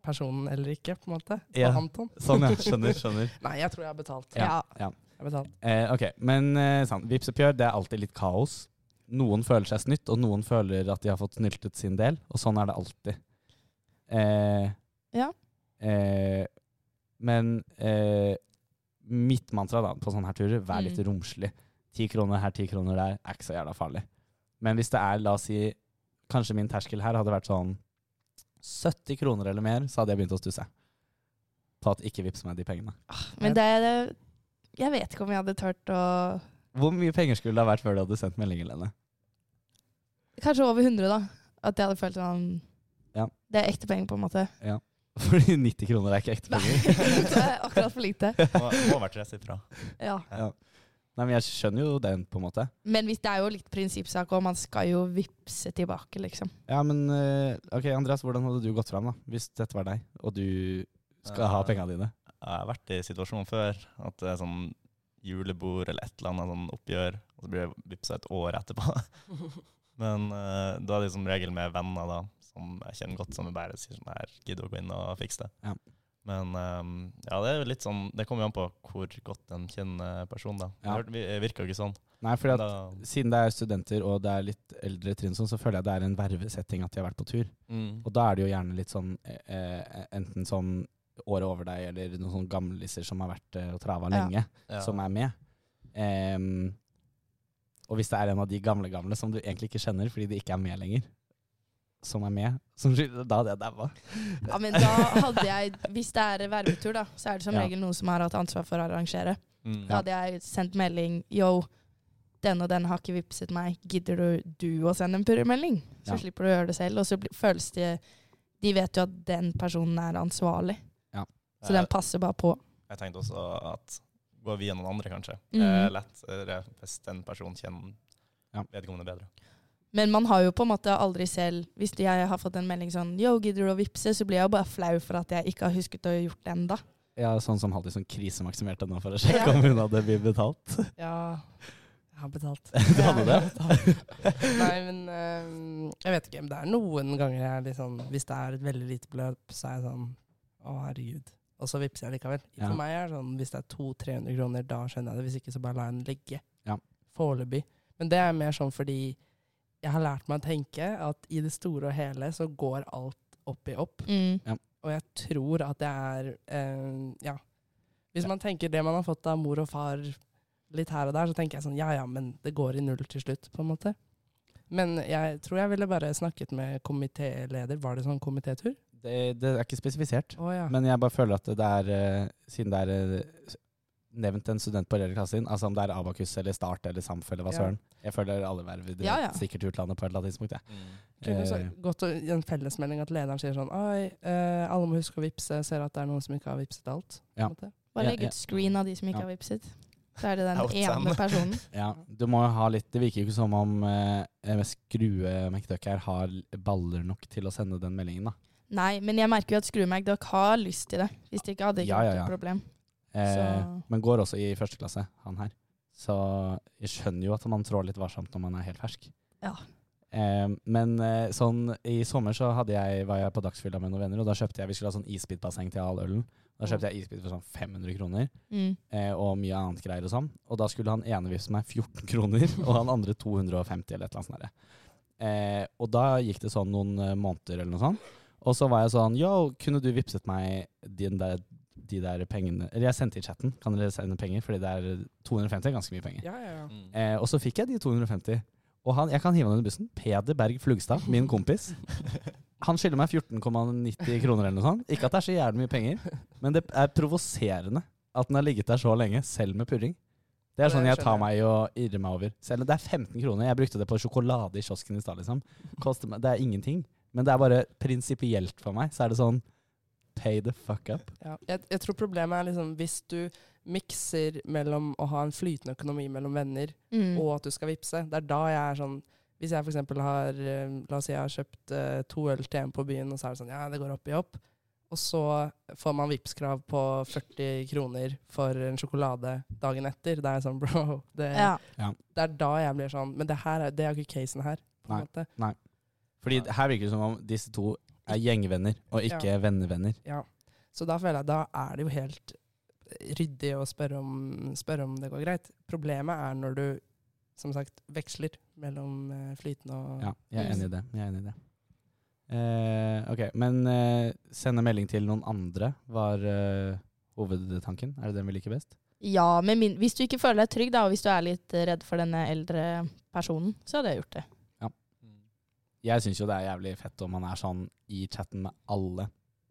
Speaker 1: personen eller ikke, på en måte. På
Speaker 2: Ja.
Speaker 1: Anton.
Speaker 2: Sånn, ja. Skjønner. skjønner.
Speaker 1: Nei, jeg tror jeg har betalt.
Speaker 2: Ja.
Speaker 1: Jeg har betalt.
Speaker 2: Eh, ok, Men eh, sant, Vipps-oppgjør det er alltid litt kaos. Noen føler seg snytt, og noen føler at de har fått snyltet sin del. Og sånn er det alltid. Eh,
Speaker 3: Ja.
Speaker 2: eh, men eh, mitt mantra da, på sånne her turer, vær litt
Speaker 3: Mm.
Speaker 2: romslig. Ti kroner her, ti kroner der, er ikke så jævla farlig. Men hvis det er, la oss si, kanskje min terskel her hadde vært sånn 70 kroner eller mer, så hadde jeg begynt å stusse. På at ikke vips meg de pengene.
Speaker 3: Men det er Jeg vet ikke om jeg hadde tørt å
Speaker 2: Hvor mye penger skulle det ha vært før du hadde sendt meldingen, Lene?
Speaker 3: Kanskje over 100, da. At jeg hadde følt sånn
Speaker 2: Ja.
Speaker 3: Det er ekte penger, på en måte.
Speaker 2: Fordi 90 kroner er ikke ekte
Speaker 3: Nei,
Speaker 2: penger.
Speaker 3: det er akkurat for lite.
Speaker 5: Må, må være tresifra.
Speaker 3: Ja.
Speaker 2: Nei, men jeg skjønner jo den, på en måte.
Speaker 3: Men hvis det er jo litt prinsippsak, og man skal jo vippse tilbake, liksom.
Speaker 2: Ja, men eh, ok, Andreas, hvordan hadde du gått fram da, hvis dette var deg, og du skal ha
Speaker 5: Eh,
Speaker 2: pengene dine?
Speaker 5: Jeg har vært i situasjonen før at det er sånn julebord eller et eller annet sånn oppgjør, og så blir jeg vippsa et år etterpå. Men eh, da er det som regel med venner da, som jeg kjenner godt, som jeg bare sier sånn her, gidder å gå inn og fikse det.
Speaker 2: Ja.
Speaker 5: Men ehm, ja, det er jo litt sånn Det kommer jo an på hvor godt en kjenner personen, da.
Speaker 2: Ja.
Speaker 5: Jeg hørte- Det virka ikke sånn.
Speaker 2: Nei, fordi at
Speaker 5: Da,
Speaker 2: siden det er studenter og det er litt eldre trinn, sånn, så føler jeg det er en vervesetting at de har vært på tur.
Speaker 5: mm.
Speaker 2: Og da er det jo gjerne litt sånn eh, eh, enten sånn året over deg, eller noen sånne gamliser som har vært eh, og trava
Speaker 3: Ja.
Speaker 2: lenge,
Speaker 5: ja.
Speaker 2: som er med. Em, og hvis det er en av de gamle gamle som du egentlig ikke kjenner fordi de ikke er med lenger, som er med, som skylder da hadde jeg daua.
Speaker 3: Ja, men da hadde jeg, Hvis det er vervetur, da, så er det som
Speaker 2: Ja.
Speaker 3: regel noen som har hatt ansvar for å arrangere.
Speaker 5: Mm.
Speaker 3: Da hadde jeg sendt melding Yo, den og den har ikke vippset meg. Gidder du, du å sende en purremelding? Så
Speaker 2: Ja.
Speaker 3: slipper du å gjøre det selv. Og så blir- føles det De vet jo at den personen er ansvarlig, så den
Speaker 5: Jeg,
Speaker 3: passer bare på.
Speaker 5: jeg tenkte også at går via noen andre, kanskje.
Speaker 3: Mhm.
Speaker 5: Eh, lettere hvis den personen kjenner
Speaker 2: Ja.
Speaker 5: vedkommende bedre.
Speaker 3: Men man har jo på en måte aldri selv Hvis jeg har fått en melding sånn Yo, gidder du å vippse? Så blir jeg jo bare flau for at jeg ikke har husket å gjort det ennå.
Speaker 2: Ja, sånn som hadde sånn krisemaksimert henne for å sjekke om hun hadde blitt betalt.
Speaker 1: Ja, jeg har betalt.
Speaker 2: Du hadde det?
Speaker 1: Nei, men eh, jeg vet ikke. Men det er noen ganger jeg er litt sånn Hvis det er et veldig lite beløp, så er jeg sånn Å, herregud. Og så vippser jeg likevel.
Speaker 2: Ja.
Speaker 1: For meg er det sånn hvis det er 200-300 kroner, da skjønner jeg det. Hvis ikke, så bare lar jeg den ligge.
Speaker 2: Ja.
Speaker 1: Foreløpig. Men det er mer sånn fordi jeg har lært meg å tenke at i det store og hele så går alt opp i opp.
Speaker 3: Mm.
Speaker 1: Og jeg tror at det er eh, Ja. Hvis man tenker det man har fått av mor og far litt her og der, så tenker jeg sånn ja ja, men det går i null til slutt, på en måte. Men jeg tror jeg ville bare snakket med komitéleder. Var det sånn komitétur?
Speaker 2: Det, det er ikke spesifisert.
Speaker 1: Å ja.
Speaker 2: Men jeg bare føler at det er eh, Siden det er eh, nevnt en student på hele klassen din, altså om det er Abakus eller Start eller Samf eller hva
Speaker 1: Ja.
Speaker 2: søren Jeg føler alle verv drar
Speaker 3: Ja, ja.
Speaker 2: sikkert til utlandet på et eller annet tidspunkt. jeg.
Speaker 3: Mm.
Speaker 1: Kunne så
Speaker 2: Eh,
Speaker 1: godt å gi en fellesmelding at lederen sier sånn Oi, eh, alle må huske å vippse. Ser at det er noen som ikke har vippset alt. på en
Speaker 2: Ja.
Speaker 1: måte.
Speaker 3: Bare
Speaker 2: Ja,
Speaker 3: legg
Speaker 2: ja.
Speaker 3: ut screen av de som ikke
Speaker 2: Ja.
Speaker 3: har vippset. Så er det den
Speaker 5: Out
Speaker 3: ene
Speaker 5: them.
Speaker 3: personen.
Speaker 2: ja, du må jo ha litt Det virker jo ikke som om uh, skrue McDuck her har baller nok til å sende den meldingen, da.
Speaker 3: Nei, men jeg merker jo at Skrumag dere har lyst til det. Hvis de ikke hadde det
Speaker 2: Ja,
Speaker 3: ikke
Speaker 2: ja,
Speaker 3: vært
Speaker 2: ja.
Speaker 3: et problem.
Speaker 2: Eh,
Speaker 3: Så-
Speaker 2: men går også i første klasse, han her. Så jeg skjønner jo at man trår litt varsomt når man er helt fersk.
Speaker 3: Ja.
Speaker 2: Eh, men eh, sånn, i sommer så hadde jeg, var jeg på dagsfylla med noen venner, og da kjøpte jeg, vi skulle ha sånn isbitbasseng til all ølen. Da kjøpte jeg isbit for sånn 500 kroner,
Speaker 3: Mm.
Speaker 2: eh, og mye annet greier og sånn. Og da skulle han ene vippse meg 14 kroner, og han andre 250 eller et eller annet sånt. der. Eh, og da gikk det sånn noen eh, måneder eller noe sånt. Og så var jeg sånn Yo, kunne du vippset meg din der, de der pengene Eller jeg sendte i chatten. Kan dere sende penger? Fordi det er 250 er ganske mye penger.
Speaker 1: Ja, ja, ja.
Speaker 2: Eh, og så fikk jeg de 250. Og han, jeg kan hive han under bussen. Peder Berg Flugstad, min kompis. Han skylder meg 14,90 kroner eller noe sånt. Ikke at det er så jævlig mye penger, men det er provoserende at den har ligget der så lenge, selv med purring. Det er
Speaker 1: Det
Speaker 2: sånn jeg
Speaker 1: skjønner
Speaker 2: tar
Speaker 1: jeg.
Speaker 2: meg i å irre meg over. Selv om det er 15 kroner. Jeg brukte det på sjokolade i kiosken i stad, liksom. Koster meg, det er ingenting. Men det er bare prinsipielt for meg. Så er det sånn Pay the fuck up.
Speaker 1: Ja. Jeg, jeg tror problemet er liksom hvis du mikser mellom å ha en flytende økonomi mellom venner
Speaker 3: Mm.
Speaker 1: og at du skal vippse. Det er da jeg er sånn Hvis jeg for eksempel har eh, La oss si jeg har kjøpt eh, to øl til en på byen, og så er det sånn Ja, det går opp i opp. Og så får man vippskrav på 40 kroner for en sjokolade dagen etter. Det er jeg sånn, bro det,
Speaker 3: Ja.
Speaker 1: det er da jeg blir sånn Men det her er, det er jo ikke casen her. På en måte.
Speaker 2: Fordi her virker det som om disse to er gjengvenner, og ikke vennevenner.
Speaker 1: Så da føler jeg da er det jo helt ryddig å spørre om, spørre om det går greit. Problemet er når du som sagt veksler mellom eh, flytende og
Speaker 2: Ja, jeg er
Speaker 3: Mm.
Speaker 2: enig i det. Jeg er enig i det. Eh, ok, Men eh, sende melding til noen andre var eh, hovedtanken. Er det den vi liker best?
Speaker 3: Ja, men min, hvis du ikke føler deg trygg, da, og hvis du er litt eh, redd for denne eldre personen, så hadde jeg gjort det.
Speaker 2: Jeg syns jo det er jævlig fett om man er sånn i chatten med alle.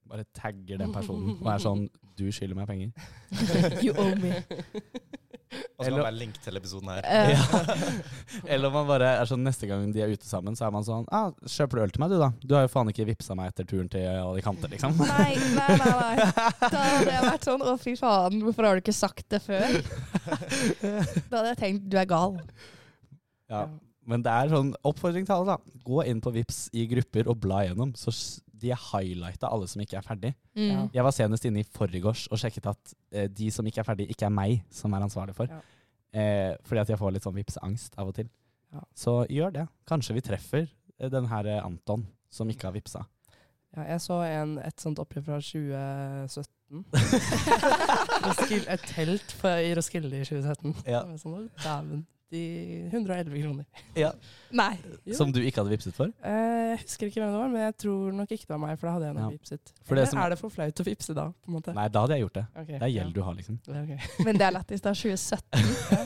Speaker 2: Bare tagger den personen og er sånn 'du skylder meg penger'.
Speaker 3: You owe me.
Speaker 5: Og så kan
Speaker 2: Eller-
Speaker 5: jeg bare link til episoden her.
Speaker 3: Eh,
Speaker 2: Eller om man bare er sånn neste gang de er ute sammen, så er man sånn ah, 'Kjøper du øl til meg, du, da?' 'Du har jo faen ikke vippsa meg etter turen til Alicante', liksom.
Speaker 3: Nei, nei, nei, nei. Da hadde jeg vært sånn 'Å, fy faen, hvorfor har du ikke sagt det før?' Da hadde jeg tenkt 'du er gal'.
Speaker 2: Ja. Men det er sånn oppfordring til alle, da. Gå inn på Vips i grupper og bla gjennom. Så s- de highlighta alle som ikke er ferdig.
Speaker 3: Mm.
Speaker 1: Ja.
Speaker 2: Jeg var senest inne i forgårs og sjekket at eh, de som ikke er ferdig, ikke er meg som er ansvarlig for.
Speaker 1: Ja.
Speaker 2: Eh, fordi at jeg får litt sånn vipseangst av og til.
Speaker 1: Ja.
Speaker 2: Så gjør det. Kanskje vi treffer eh, den her eh, Anton som ikke har vipsa.
Speaker 1: Ja, jeg så en, et sånt oppgjør fra 2017 Roskilde, et telt på, i Roskilde i 2017.
Speaker 2: Ja.
Speaker 1: Det var Sånn, Dæven. De 111 kroner.
Speaker 3: Nei.
Speaker 1: Jo.
Speaker 2: Som du ikke hadde vipset for?
Speaker 1: Eh, jeg husker ikke hvem det var, men jeg tror nok ikke det var meg, for da hadde jeg nok
Speaker 2: Ja.
Speaker 1: vipset.
Speaker 2: For det
Speaker 1: Eller
Speaker 2: som-
Speaker 1: er det for flaut å vipse da, på en måte?
Speaker 2: Nei, da hadde jeg gjort det.
Speaker 1: Ok,
Speaker 2: Det er gjeld du har, liksom.
Speaker 1: Ja, ok.
Speaker 3: Men det er lættis. Det er 2017.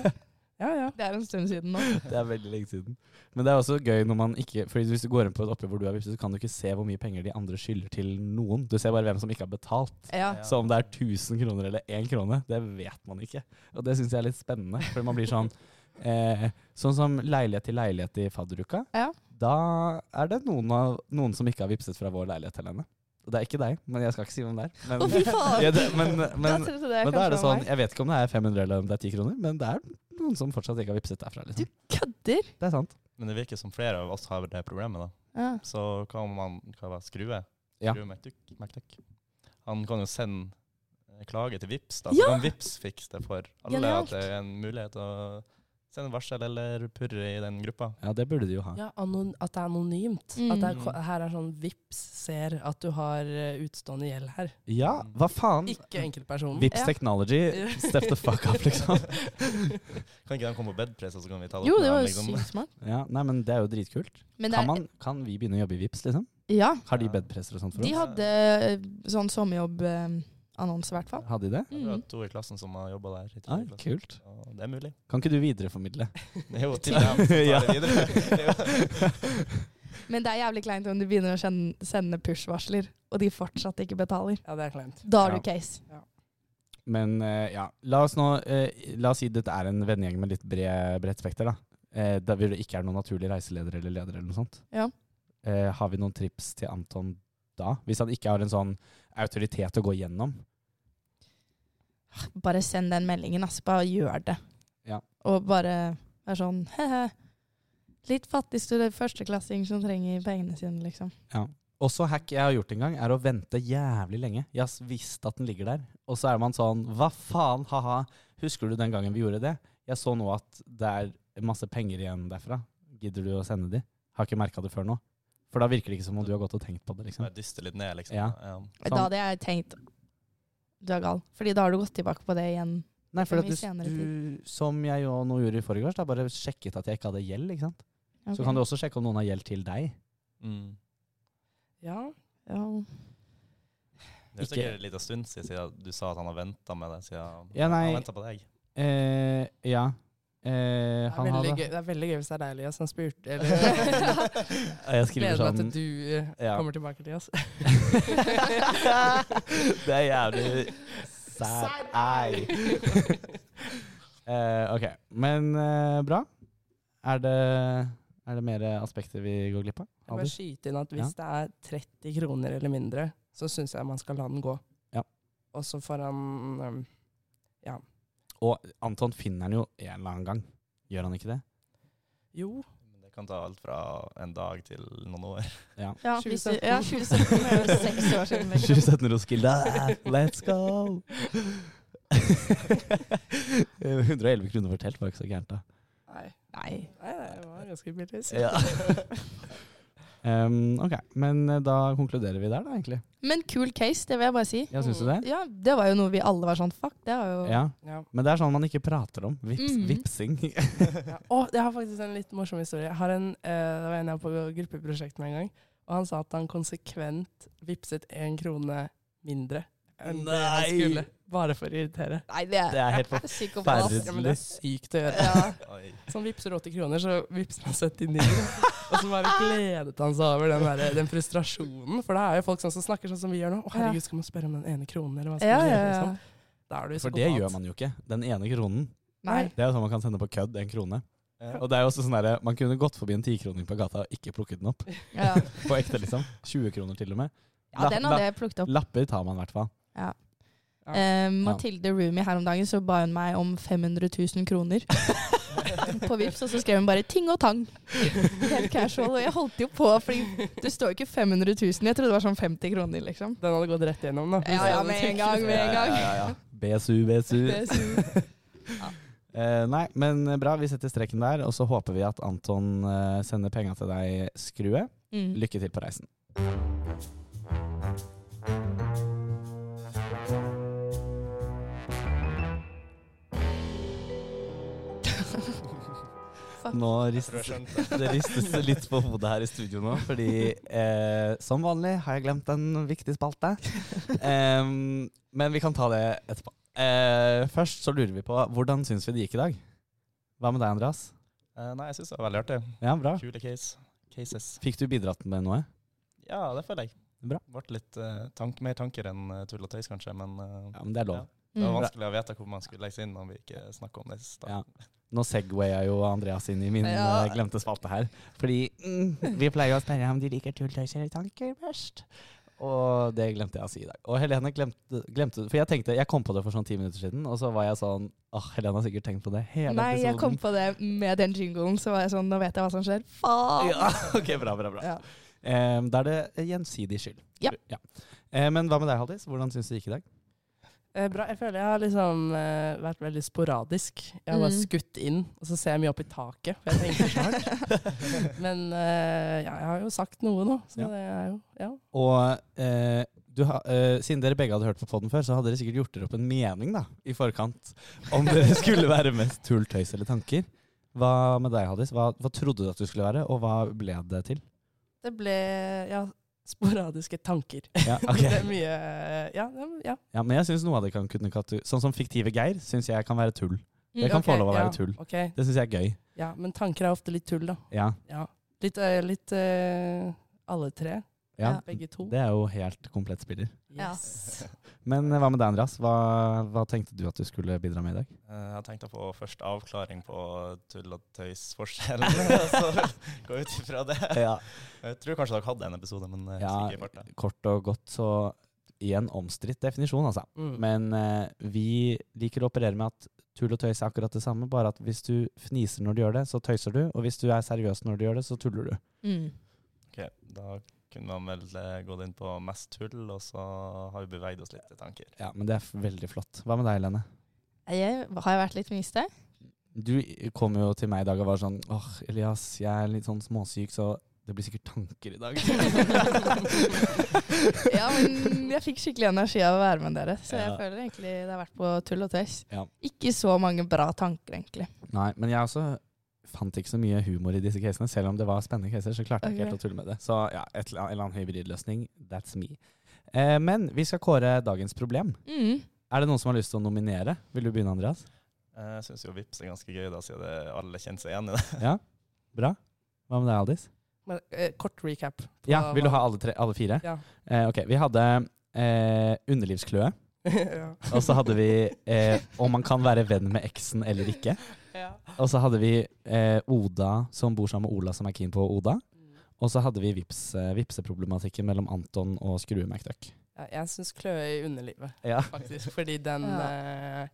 Speaker 1: ja, ja.
Speaker 3: Det er en stund siden nå.
Speaker 2: Det er veldig lenge siden. Men det er også gøy når man ikke Fordi hvis du går inn på et oppgjør hvor du er vipset, så kan du ikke se hvor mye penger de andre skylder til noen. Du ser bare hvem som ikke har betalt.
Speaker 3: Ja.
Speaker 5: Ja.
Speaker 2: Så om det er 1000 kroner eller 1 krone, det vet man ikke. Og det syns jeg er litt spennende. For man blir sånn eh, Sånn som leilighet til leilighet i fadderuka.
Speaker 3: Ja.
Speaker 2: Da er det noen, av, noen som ikke har vippset fra vår leilighet til henne. Og det er ikke deg, men jeg skal ikke si hvem det er.
Speaker 3: Å,
Speaker 2: Men,
Speaker 3: fy faen!
Speaker 2: ja, det, men, men,
Speaker 3: da trodde jeg
Speaker 2: men da er det
Speaker 3: kanskje var
Speaker 2: sånn
Speaker 3: meg.
Speaker 2: Jeg vet ikke om det er 500 eller om det er 10 kroner, men det er noen som fortsatt ikke har vippset derfra.
Speaker 3: Du
Speaker 2: Liksom.
Speaker 3: kødder!
Speaker 2: Det er sant.
Speaker 5: Men det virker som flere av oss har det problemet, da.
Speaker 3: Ja.
Speaker 5: Så hva om man hva var, skrue?
Speaker 2: Ja.
Speaker 5: Skrue McDuck, McDuck. Han kan jo sende eh, klage til Vips da.
Speaker 3: Ja!
Speaker 5: Så kan Vips fikse det for alle.
Speaker 3: Genialt.
Speaker 5: At det er en mulighet å sende varsel eller purre i den gruppa.
Speaker 2: Ja, det burde de jo ha.
Speaker 1: ja anon at det er anonymt.
Speaker 3: Mm.
Speaker 1: At det er, ko- her er sånn vips ser at du har eh, utstående gjeld her.
Speaker 2: Ja, hva faen?
Speaker 1: Ikke enkeltpersonen.
Speaker 2: Vips Technology, step the fuck up, liksom.
Speaker 5: Kan ikke de komme på bedpress, og så kan vi ta det
Speaker 3: Jo,
Speaker 5: opp
Speaker 3: det
Speaker 5: med
Speaker 3: var jo
Speaker 5: dem, liksom?
Speaker 3: sykt smart.
Speaker 2: Ja, nei, men det er jo dritkult.
Speaker 3: Men
Speaker 2: Kan,
Speaker 3: det er,
Speaker 2: man, kan vi begynne å jobbe i Vips, liksom?
Speaker 3: ja,
Speaker 2: Har de
Speaker 5: Ja.
Speaker 2: bedpresser og sånt for
Speaker 3: de
Speaker 2: oss?
Speaker 3: hadde sånn sommerjobbannonse, i hvert fall.
Speaker 2: Hadde de det?
Speaker 5: Jeg har
Speaker 3: Mm.
Speaker 5: hatt to i klassen som har jobba der. i
Speaker 2: Nei,
Speaker 5: tredje klasse.
Speaker 2: kult.
Speaker 5: Og det er mulig.
Speaker 2: Kan ikke du videreformidle?
Speaker 5: Det er jo til dem som tar det videre.
Speaker 3: Men det er jævlig kleint om du begynner å kjenne- sende push-varsler, og de fortsatt ikke betaler.
Speaker 1: Ja, det er kleint.
Speaker 3: Da har
Speaker 2: Ja.
Speaker 3: du case.
Speaker 2: Men eh, ja, la oss nå eh, La oss si dette er en vennegjeng med litt bred, bredt spekter, da. Eh, der hvor det ikke er noen naturlig reiseleder eller leder eller noe sånt.
Speaker 3: Ja.
Speaker 2: Eh, har vi noen trips til Anton da? Hvis han ikke har en sånn autoritet å gå gjennom?
Speaker 3: Bare send den meldingen, ass. Bare gjør det.
Speaker 2: Ja.
Speaker 3: Og bare være sånn he-he. Litt fattig student, førsteklassing som trenger pengene sine, liksom.
Speaker 2: Også hack jeg har gjort en gang, er å vente jævlig lenge. Jeg har visst at den ligger der. Og så er man sånn Hva faen, ha-ha. Husker du den gangen vi gjorde det? Jeg så nå at det er masse penger igjen derfra. Gidder du å sende de? Har ikke merka det før nå. For da virker det ikke som om du har gått og tenkt på det, liksom.
Speaker 5: Bare dyste litt ned, liksom.
Speaker 2: Ja.
Speaker 3: Da hadde jeg tenkt du er gal. Fordi da har du gått tilbake på det igjen.
Speaker 2: Nei, for at
Speaker 3: Liksom i
Speaker 2: du,
Speaker 3: senere
Speaker 2: du, som jeg jo nå gjorde i forrige års, da bare sjekket at jeg ikke hadde gjeld, ikke sant.
Speaker 3: Ok.
Speaker 2: Så kan du også sjekke om noen har gjeld til deg.
Speaker 5: Mm.
Speaker 1: Ja,
Speaker 3: ja.
Speaker 5: Det er
Speaker 2: Ikke-
Speaker 5: sikkert en liten stund siden siden du sa at han har venta med det. Siden
Speaker 2: Ja, nei.
Speaker 5: Han venta på deg.
Speaker 2: Eh, ja. Eh,
Speaker 1: det er,
Speaker 2: han
Speaker 1: veldig
Speaker 2: hadde
Speaker 1: gøy, det er veldig gøy hvis det er deg, Elias, som spurte. Eller,
Speaker 2: Jeg skriver
Speaker 1: gleder meg
Speaker 2: sånn
Speaker 1: til du eh,
Speaker 2: Ja.
Speaker 1: kommer tilbake, Elias.
Speaker 2: det er jævlig sad eye. Eh, ok, men eh, bra. Er det, er det mer aspekter vi går glipp av?
Speaker 1: Jeg bare
Speaker 2: Aldis?
Speaker 1: skyte inn at hvis det er 30 kroner eller mindre, så syns jeg man skal la den gå.
Speaker 2: Ja.
Speaker 1: Og så får han um,
Speaker 2: Og Anton finner den jo en eller annen gang. Gjør han ikke det?
Speaker 1: Jo,
Speaker 2: sånn.
Speaker 5: Men det kan ta alt fra en dag til noen år.
Speaker 3: Ja,
Speaker 1: 2017.
Speaker 3: hvis du, ja, 2017 er jo seks år siden. liksom.
Speaker 2: 2017 Roskilde, let's go! 111 kroner for telt var ikke så gærent, da.
Speaker 1: nei.
Speaker 3: Nei.
Speaker 1: Nei, det var ganske billig. så-
Speaker 2: Um, ok, men eh, da konkluderer vi der, da, egentlig.
Speaker 3: Men kul case, det vil jeg bare si.
Speaker 2: Ja, syns du det?
Speaker 3: Ja, Det var jo noe vi alle var sånn fuck. Det er jo
Speaker 2: Ja.
Speaker 1: Ja.
Speaker 2: Men det er sånn man ikke prater om. Vips,
Speaker 3: Mhm.
Speaker 2: Vipsing.
Speaker 1: Ja. Og jeg har faktisk en litt morsom historie. Jeg har en, eh, det var en jeg var på gruppeprosjekt med en gang, og han sa at han konsekvent vipset én krone mindre enn det han
Speaker 2: Nei!
Speaker 1: skulle. Bare for å irritere.
Speaker 3: Nei, det er,
Speaker 2: Det er helt
Speaker 3: psykopat.
Speaker 2: forferdelig.
Speaker 1: Ja, men det er sykt å gjøre.
Speaker 3: Ja.
Speaker 5: Oi.
Speaker 1: Sånn vipser 80 kroner, så vipser han 79. Og så bare gledet han seg over den, der, den frustrasjonen. For det er jo folk sånn som snakker sånn som vi gjør nå. Å herregud, skal man spørre om den ene kronen, eller hva skal
Speaker 3: Ja,
Speaker 1: man
Speaker 3: ja,
Speaker 1: gjøre?
Speaker 3: ja.
Speaker 1: Liksom? Da er du
Speaker 2: For det gjør man jo ikke. Den ene kronen.
Speaker 3: Nei.
Speaker 2: Det er jo sånn man kan sende på kødd, en krone.
Speaker 5: Ja.
Speaker 2: Og det er jo også sånn derre Man kunne gått forbi en tikroning på gata og ikke plukket den opp.
Speaker 3: Ja.
Speaker 2: På ekte, liksom. 20 kroner til og med.
Speaker 3: ja, den hadde jeg plukket opp.
Speaker 2: Lapper tar man i hvert fall.
Speaker 1: Ja.
Speaker 3: Eh, Mathilde Roomy her om dagen så ba hun meg om 500 000 kroner på Vipps, og så skrev hun bare 'ting og tang'. Helt casual. Og jeg holdt jo på, fordi det står jo ikke 500 000. Jeg trodde det var sånn 50 kroner, liksom.
Speaker 1: Den hadde gått rett gjennom, da.
Speaker 3: Ja, ja, med en gang, med en gang.
Speaker 2: ja, ja. BSU, BSU.
Speaker 3: Det er så-
Speaker 2: Eh, nei, men bra. Vi setter streken der, og så håper vi at Anton eh, sender penga til deg, Skrue.
Speaker 3: Mm.
Speaker 2: Lykke til på reisen. Nå
Speaker 5: Jeg tror jeg
Speaker 2: ristes
Speaker 5: skjønte.
Speaker 2: det ristes litt på hodet her i studio nå, fordi eh, som vanlig har jeg glemt en viktig spalte. Em, men vi kan ta det etterpå. Eh, først så lurer vi på hvordan syns vi det gikk i dag? Hva med deg, Andreas?
Speaker 5: Eh, nei, jeg syns det var veldig artig.
Speaker 2: Ja, bra.
Speaker 5: Kule case. cases.
Speaker 2: Fikk du bidratt med noe?
Speaker 5: Ja, det føler jeg.
Speaker 2: Bra.
Speaker 5: Ble litt eh, tank, mer tanker enn eh, tull og tøys, kanskje. Men eh,
Speaker 2: Ja, men det er lov.
Speaker 5: det var
Speaker 3: Mm.
Speaker 5: vanskelig å vite hvor man skulle legge seg inn om vi ikke snakker om det. i stad.
Speaker 2: Ja. Nå segwayer jo Andreas inn i min
Speaker 3: Ja.
Speaker 2: eh, glemte spalte her. Fordi mm, vi pleier å spørre om de liker tulltøys eller tanker først. Og det glemte jeg å si i dag. Og Helene glemte, glemte For jeg tenkte, jeg kom på det for sånn ti minutter siden, og så var jeg sånn Åh, Helene har sikkert tenkt på det hele
Speaker 3: Nei, jeg kom
Speaker 2: episoden.
Speaker 3: på det med den jinglen, så var jeg sånn, nå vet jeg hva som skjer. Faen!
Speaker 2: Ja, ok, bra, bra, bra.
Speaker 3: Ja.
Speaker 2: Em, da er det gjensidig skyld.
Speaker 3: Ja.
Speaker 2: Eh, men hva med deg, Haldis? Hvordan syns du det gikk i dag?
Speaker 1: Eh, bra. Jeg føler jeg har liksom eh, vært veldig sporadisk. Jeg har bare
Speaker 3: Mm.
Speaker 1: skutt inn, og så ser jeg mye opp i taket. For jeg tenker ikke hardt. Men eh, ja, jeg har jo sagt noe nå, så
Speaker 2: Ja.
Speaker 1: det er jo ja.
Speaker 2: Og eh, du ha, eh, siden dere begge hadde hørt på podden før, så hadde dere sikkert gjort dere opp en mening da, i forkant om dere skulle være mest tull, tøys eller tanker. Hva med deg, Haddis? Hva, hva trodde du at du skulle være, og hva ble det til?
Speaker 1: Det ble ja, sporadiske tanker.
Speaker 2: Ja, ok.
Speaker 1: Det er mye eh, Ja. det- ja.
Speaker 2: ja Men jeg syns noe av det kan kunne katu... Sånn som fiktive Geir syns jeg kan være tull. Det kan
Speaker 1: Ok,
Speaker 2: få lov å
Speaker 1: ja,
Speaker 2: være tull.
Speaker 1: ok.
Speaker 2: Det syns jeg er gøy.
Speaker 1: Ja, men tanker er ofte litt tull, da.
Speaker 2: Ja,
Speaker 1: Ja. Litt, eh, litt eh, alle tre.
Speaker 2: ja.
Speaker 3: Ja.
Speaker 1: Begge to.
Speaker 2: Det er jo helt komplett spiller.
Speaker 3: Mm. Ja.
Speaker 1: Yes.
Speaker 2: Men eh, hva med deg, Andreas? Hva, hva tenkte du at du skulle bidra med i dag?
Speaker 5: Eh, jeg tenkte på først avklaring på tull og tøys-forskjellen, så gå ut ifra det.
Speaker 2: Ja.
Speaker 5: Jeg tror kanskje dere hadde en episode, men jeg
Speaker 2: Ja.
Speaker 5: husker ikke i farta.
Speaker 2: Kort og godt, så igjen omstridt definisjon, altså.
Speaker 1: Mm.
Speaker 2: Men eh, vi liker å operere med at tull og tøys er akkurat det samme, bare at hvis du fniser når du gjør det, så tøyser du, og hvis du er seriøs når du gjør det, så tuller du.
Speaker 3: Mm.
Speaker 5: Ok, da kunne man vel eh, gått inn på mest tull, og så har vi beveget oss litt til tanker.
Speaker 2: Ja, Men det er f- veldig flott. Hva med deg, Lene?
Speaker 3: Jeg, har jeg vært litt mye i sted?
Speaker 2: Du eh, kom jo til meg i dag og var sånn åh, Elias, jeg er litt sånn småsyk, så det blir sikkert tanker i dag.
Speaker 3: Ja, men jeg fikk skikkelig energi av å være med dere, så jeg
Speaker 2: Ja.
Speaker 3: føler egentlig det har vært på tull og tøys.
Speaker 2: Ja.
Speaker 3: Ikke så mange bra tanker, egentlig.
Speaker 2: Nei, men jeg også fant ikke så mye humor i disse casene. Selv om det var spennende caser, så klarte jeg ikke
Speaker 3: Ok.
Speaker 2: helt å tulle med det. Så ja, et eller annet- en eller annen hybridløsning, that's me. Eh, men vi skal kåre dagens problem.
Speaker 3: Mm.
Speaker 2: Er det noen som har lyst til å nominere? Vil du begynne, Andreas?
Speaker 5: Eh, Jeg syns jo Vips er ganske gøy, da, siden det- alle kjenner seg igjen i det.
Speaker 2: Ja, bra. Hva med deg, Aldis?
Speaker 1: Men, eh, kort recap. på
Speaker 2: Ja,
Speaker 1: hva-
Speaker 2: Vil du ha alle, tre, alle fire?
Speaker 1: Ja.
Speaker 2: Eh, ok, Vi hadde eh, underlivskløe,
Speaker 1: ja.
Speaker 2: og så hadde vi eh, om man kan være venn med eksen eller ikke.
Speaker 1: Ja.
Speaker 2: Og så hadde vi eh, Oda som bor sammen med Ola som er keen på Oda. Og så hadde vi vips, eh, vipseproblematikken mellom Anton og Skrue McDuck.
Speaker 1: Ja, jeg syns kløe i underlivet,
Speaker 2: Ja.
Speaker 1: faktisk. Fordi den eh,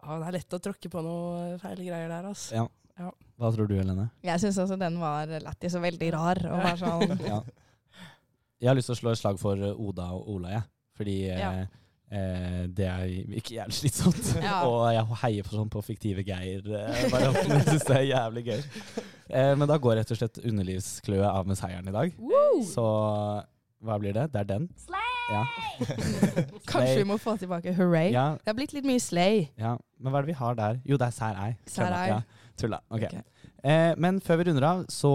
Speaker 1: ja, Det er lett å tråkke på noe feil greier der, altså.
Speaker 2: Ja.
Speaker 1: Ja.
Speaker 2: Hå tror du, Helene?
Speaker 3: Jeg syns også den var lættis og veldig rar. Og var sånn,
Speaker 2: Ja. Jeg har lyst til å slå et slag for eh, Oda og Ola, jeg. Fordi eh,
Speaker 3: Ja.
Speaker 2: eh, det er ikke jævlig slitsomt.
Speaker 3: Ja.
Speaker 2: Og jeg heier på, sånn, på fiktive eh, Geir-varianten. jeg syns det er jævlig gøy. Eh, men da går rett og slett underlivskløe av med seieren i dag.
Speaker 3: Woo!
Speaker 2: Så hva blir det? Det er den. Ja.
Speaker 3: Kanskje vi må få tilbake hooray.
Speaker 2: Ja,
Speaker 3: Det har blitt litt mye slay.
Speaker 2: ja. Men hva er det vi har der? Jo, det er sær ei.
Speaker 3: Sær
Speaker 2: Kødda.
Speaker 3: ei.
Speaker 2: Ja. Tulla. Ok.
Speaker 3: Ok.
Speaker 2: Eh, men før vi runder av, så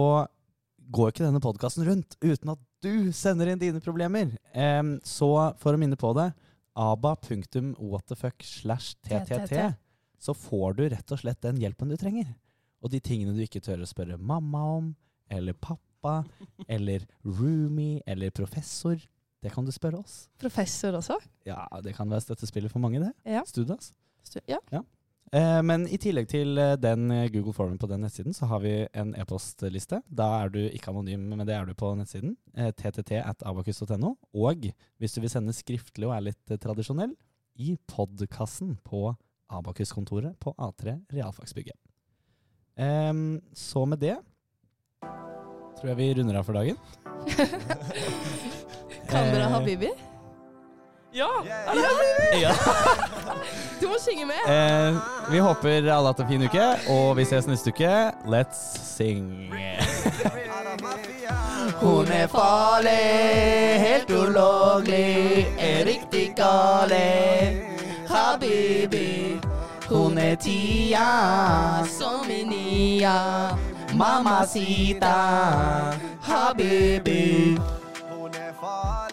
Speaker 2: går ikke denne podkasten rundt uten at du sender inn dine problemer. Em, så for å minne på det, aba.whatthefuck slash ttt, så får du rett og slett den hjelpen du trenger. Og de tingene du ikke tør å spørre mamma om, eller pappa, eller roomie, eller professor, det kan du spørre oss.
Speaker 3: Professor også.
Speaker 2: Ja, det kan være støttespiller for mange, det.
Speaker 3: Ja.
Speaker 2: Studas.
Speaker 3: Stu- Ja.
Speaker 2: Eh, Men i tillegg til eh, den eh, Google Formen på den nettsiden, så har vi en e-postliste. Da er du ikke anonym, men det er du på nettsiden. eh, ttt at abakus.no. Og hvis du vil sende skriftlig og er litt eh, tradisjonell, i podkassen på Abakus-kontoret på A3 Realfagsbygget. Em, så med det tror jeg vi runder av for dagen.
Speaker 3: Kan dere ha
Speaker 2: Eh,
Speaker 3: Bibi?
Speaker 1: ja.
Speaker 2: Ja.
Speaker 3: Du må synge med!
Speaker 2: Eh, vi håper alle har hatt en fin uke, og vi ses neste uke. Let's sing!
Speaker 3: Hun er farlig, helt ulovlig, er riktig gal. Habibi,
Speaker 1: Hun er tia, som i nia. Mamacita, habibi.
Speaker 6: Hun er far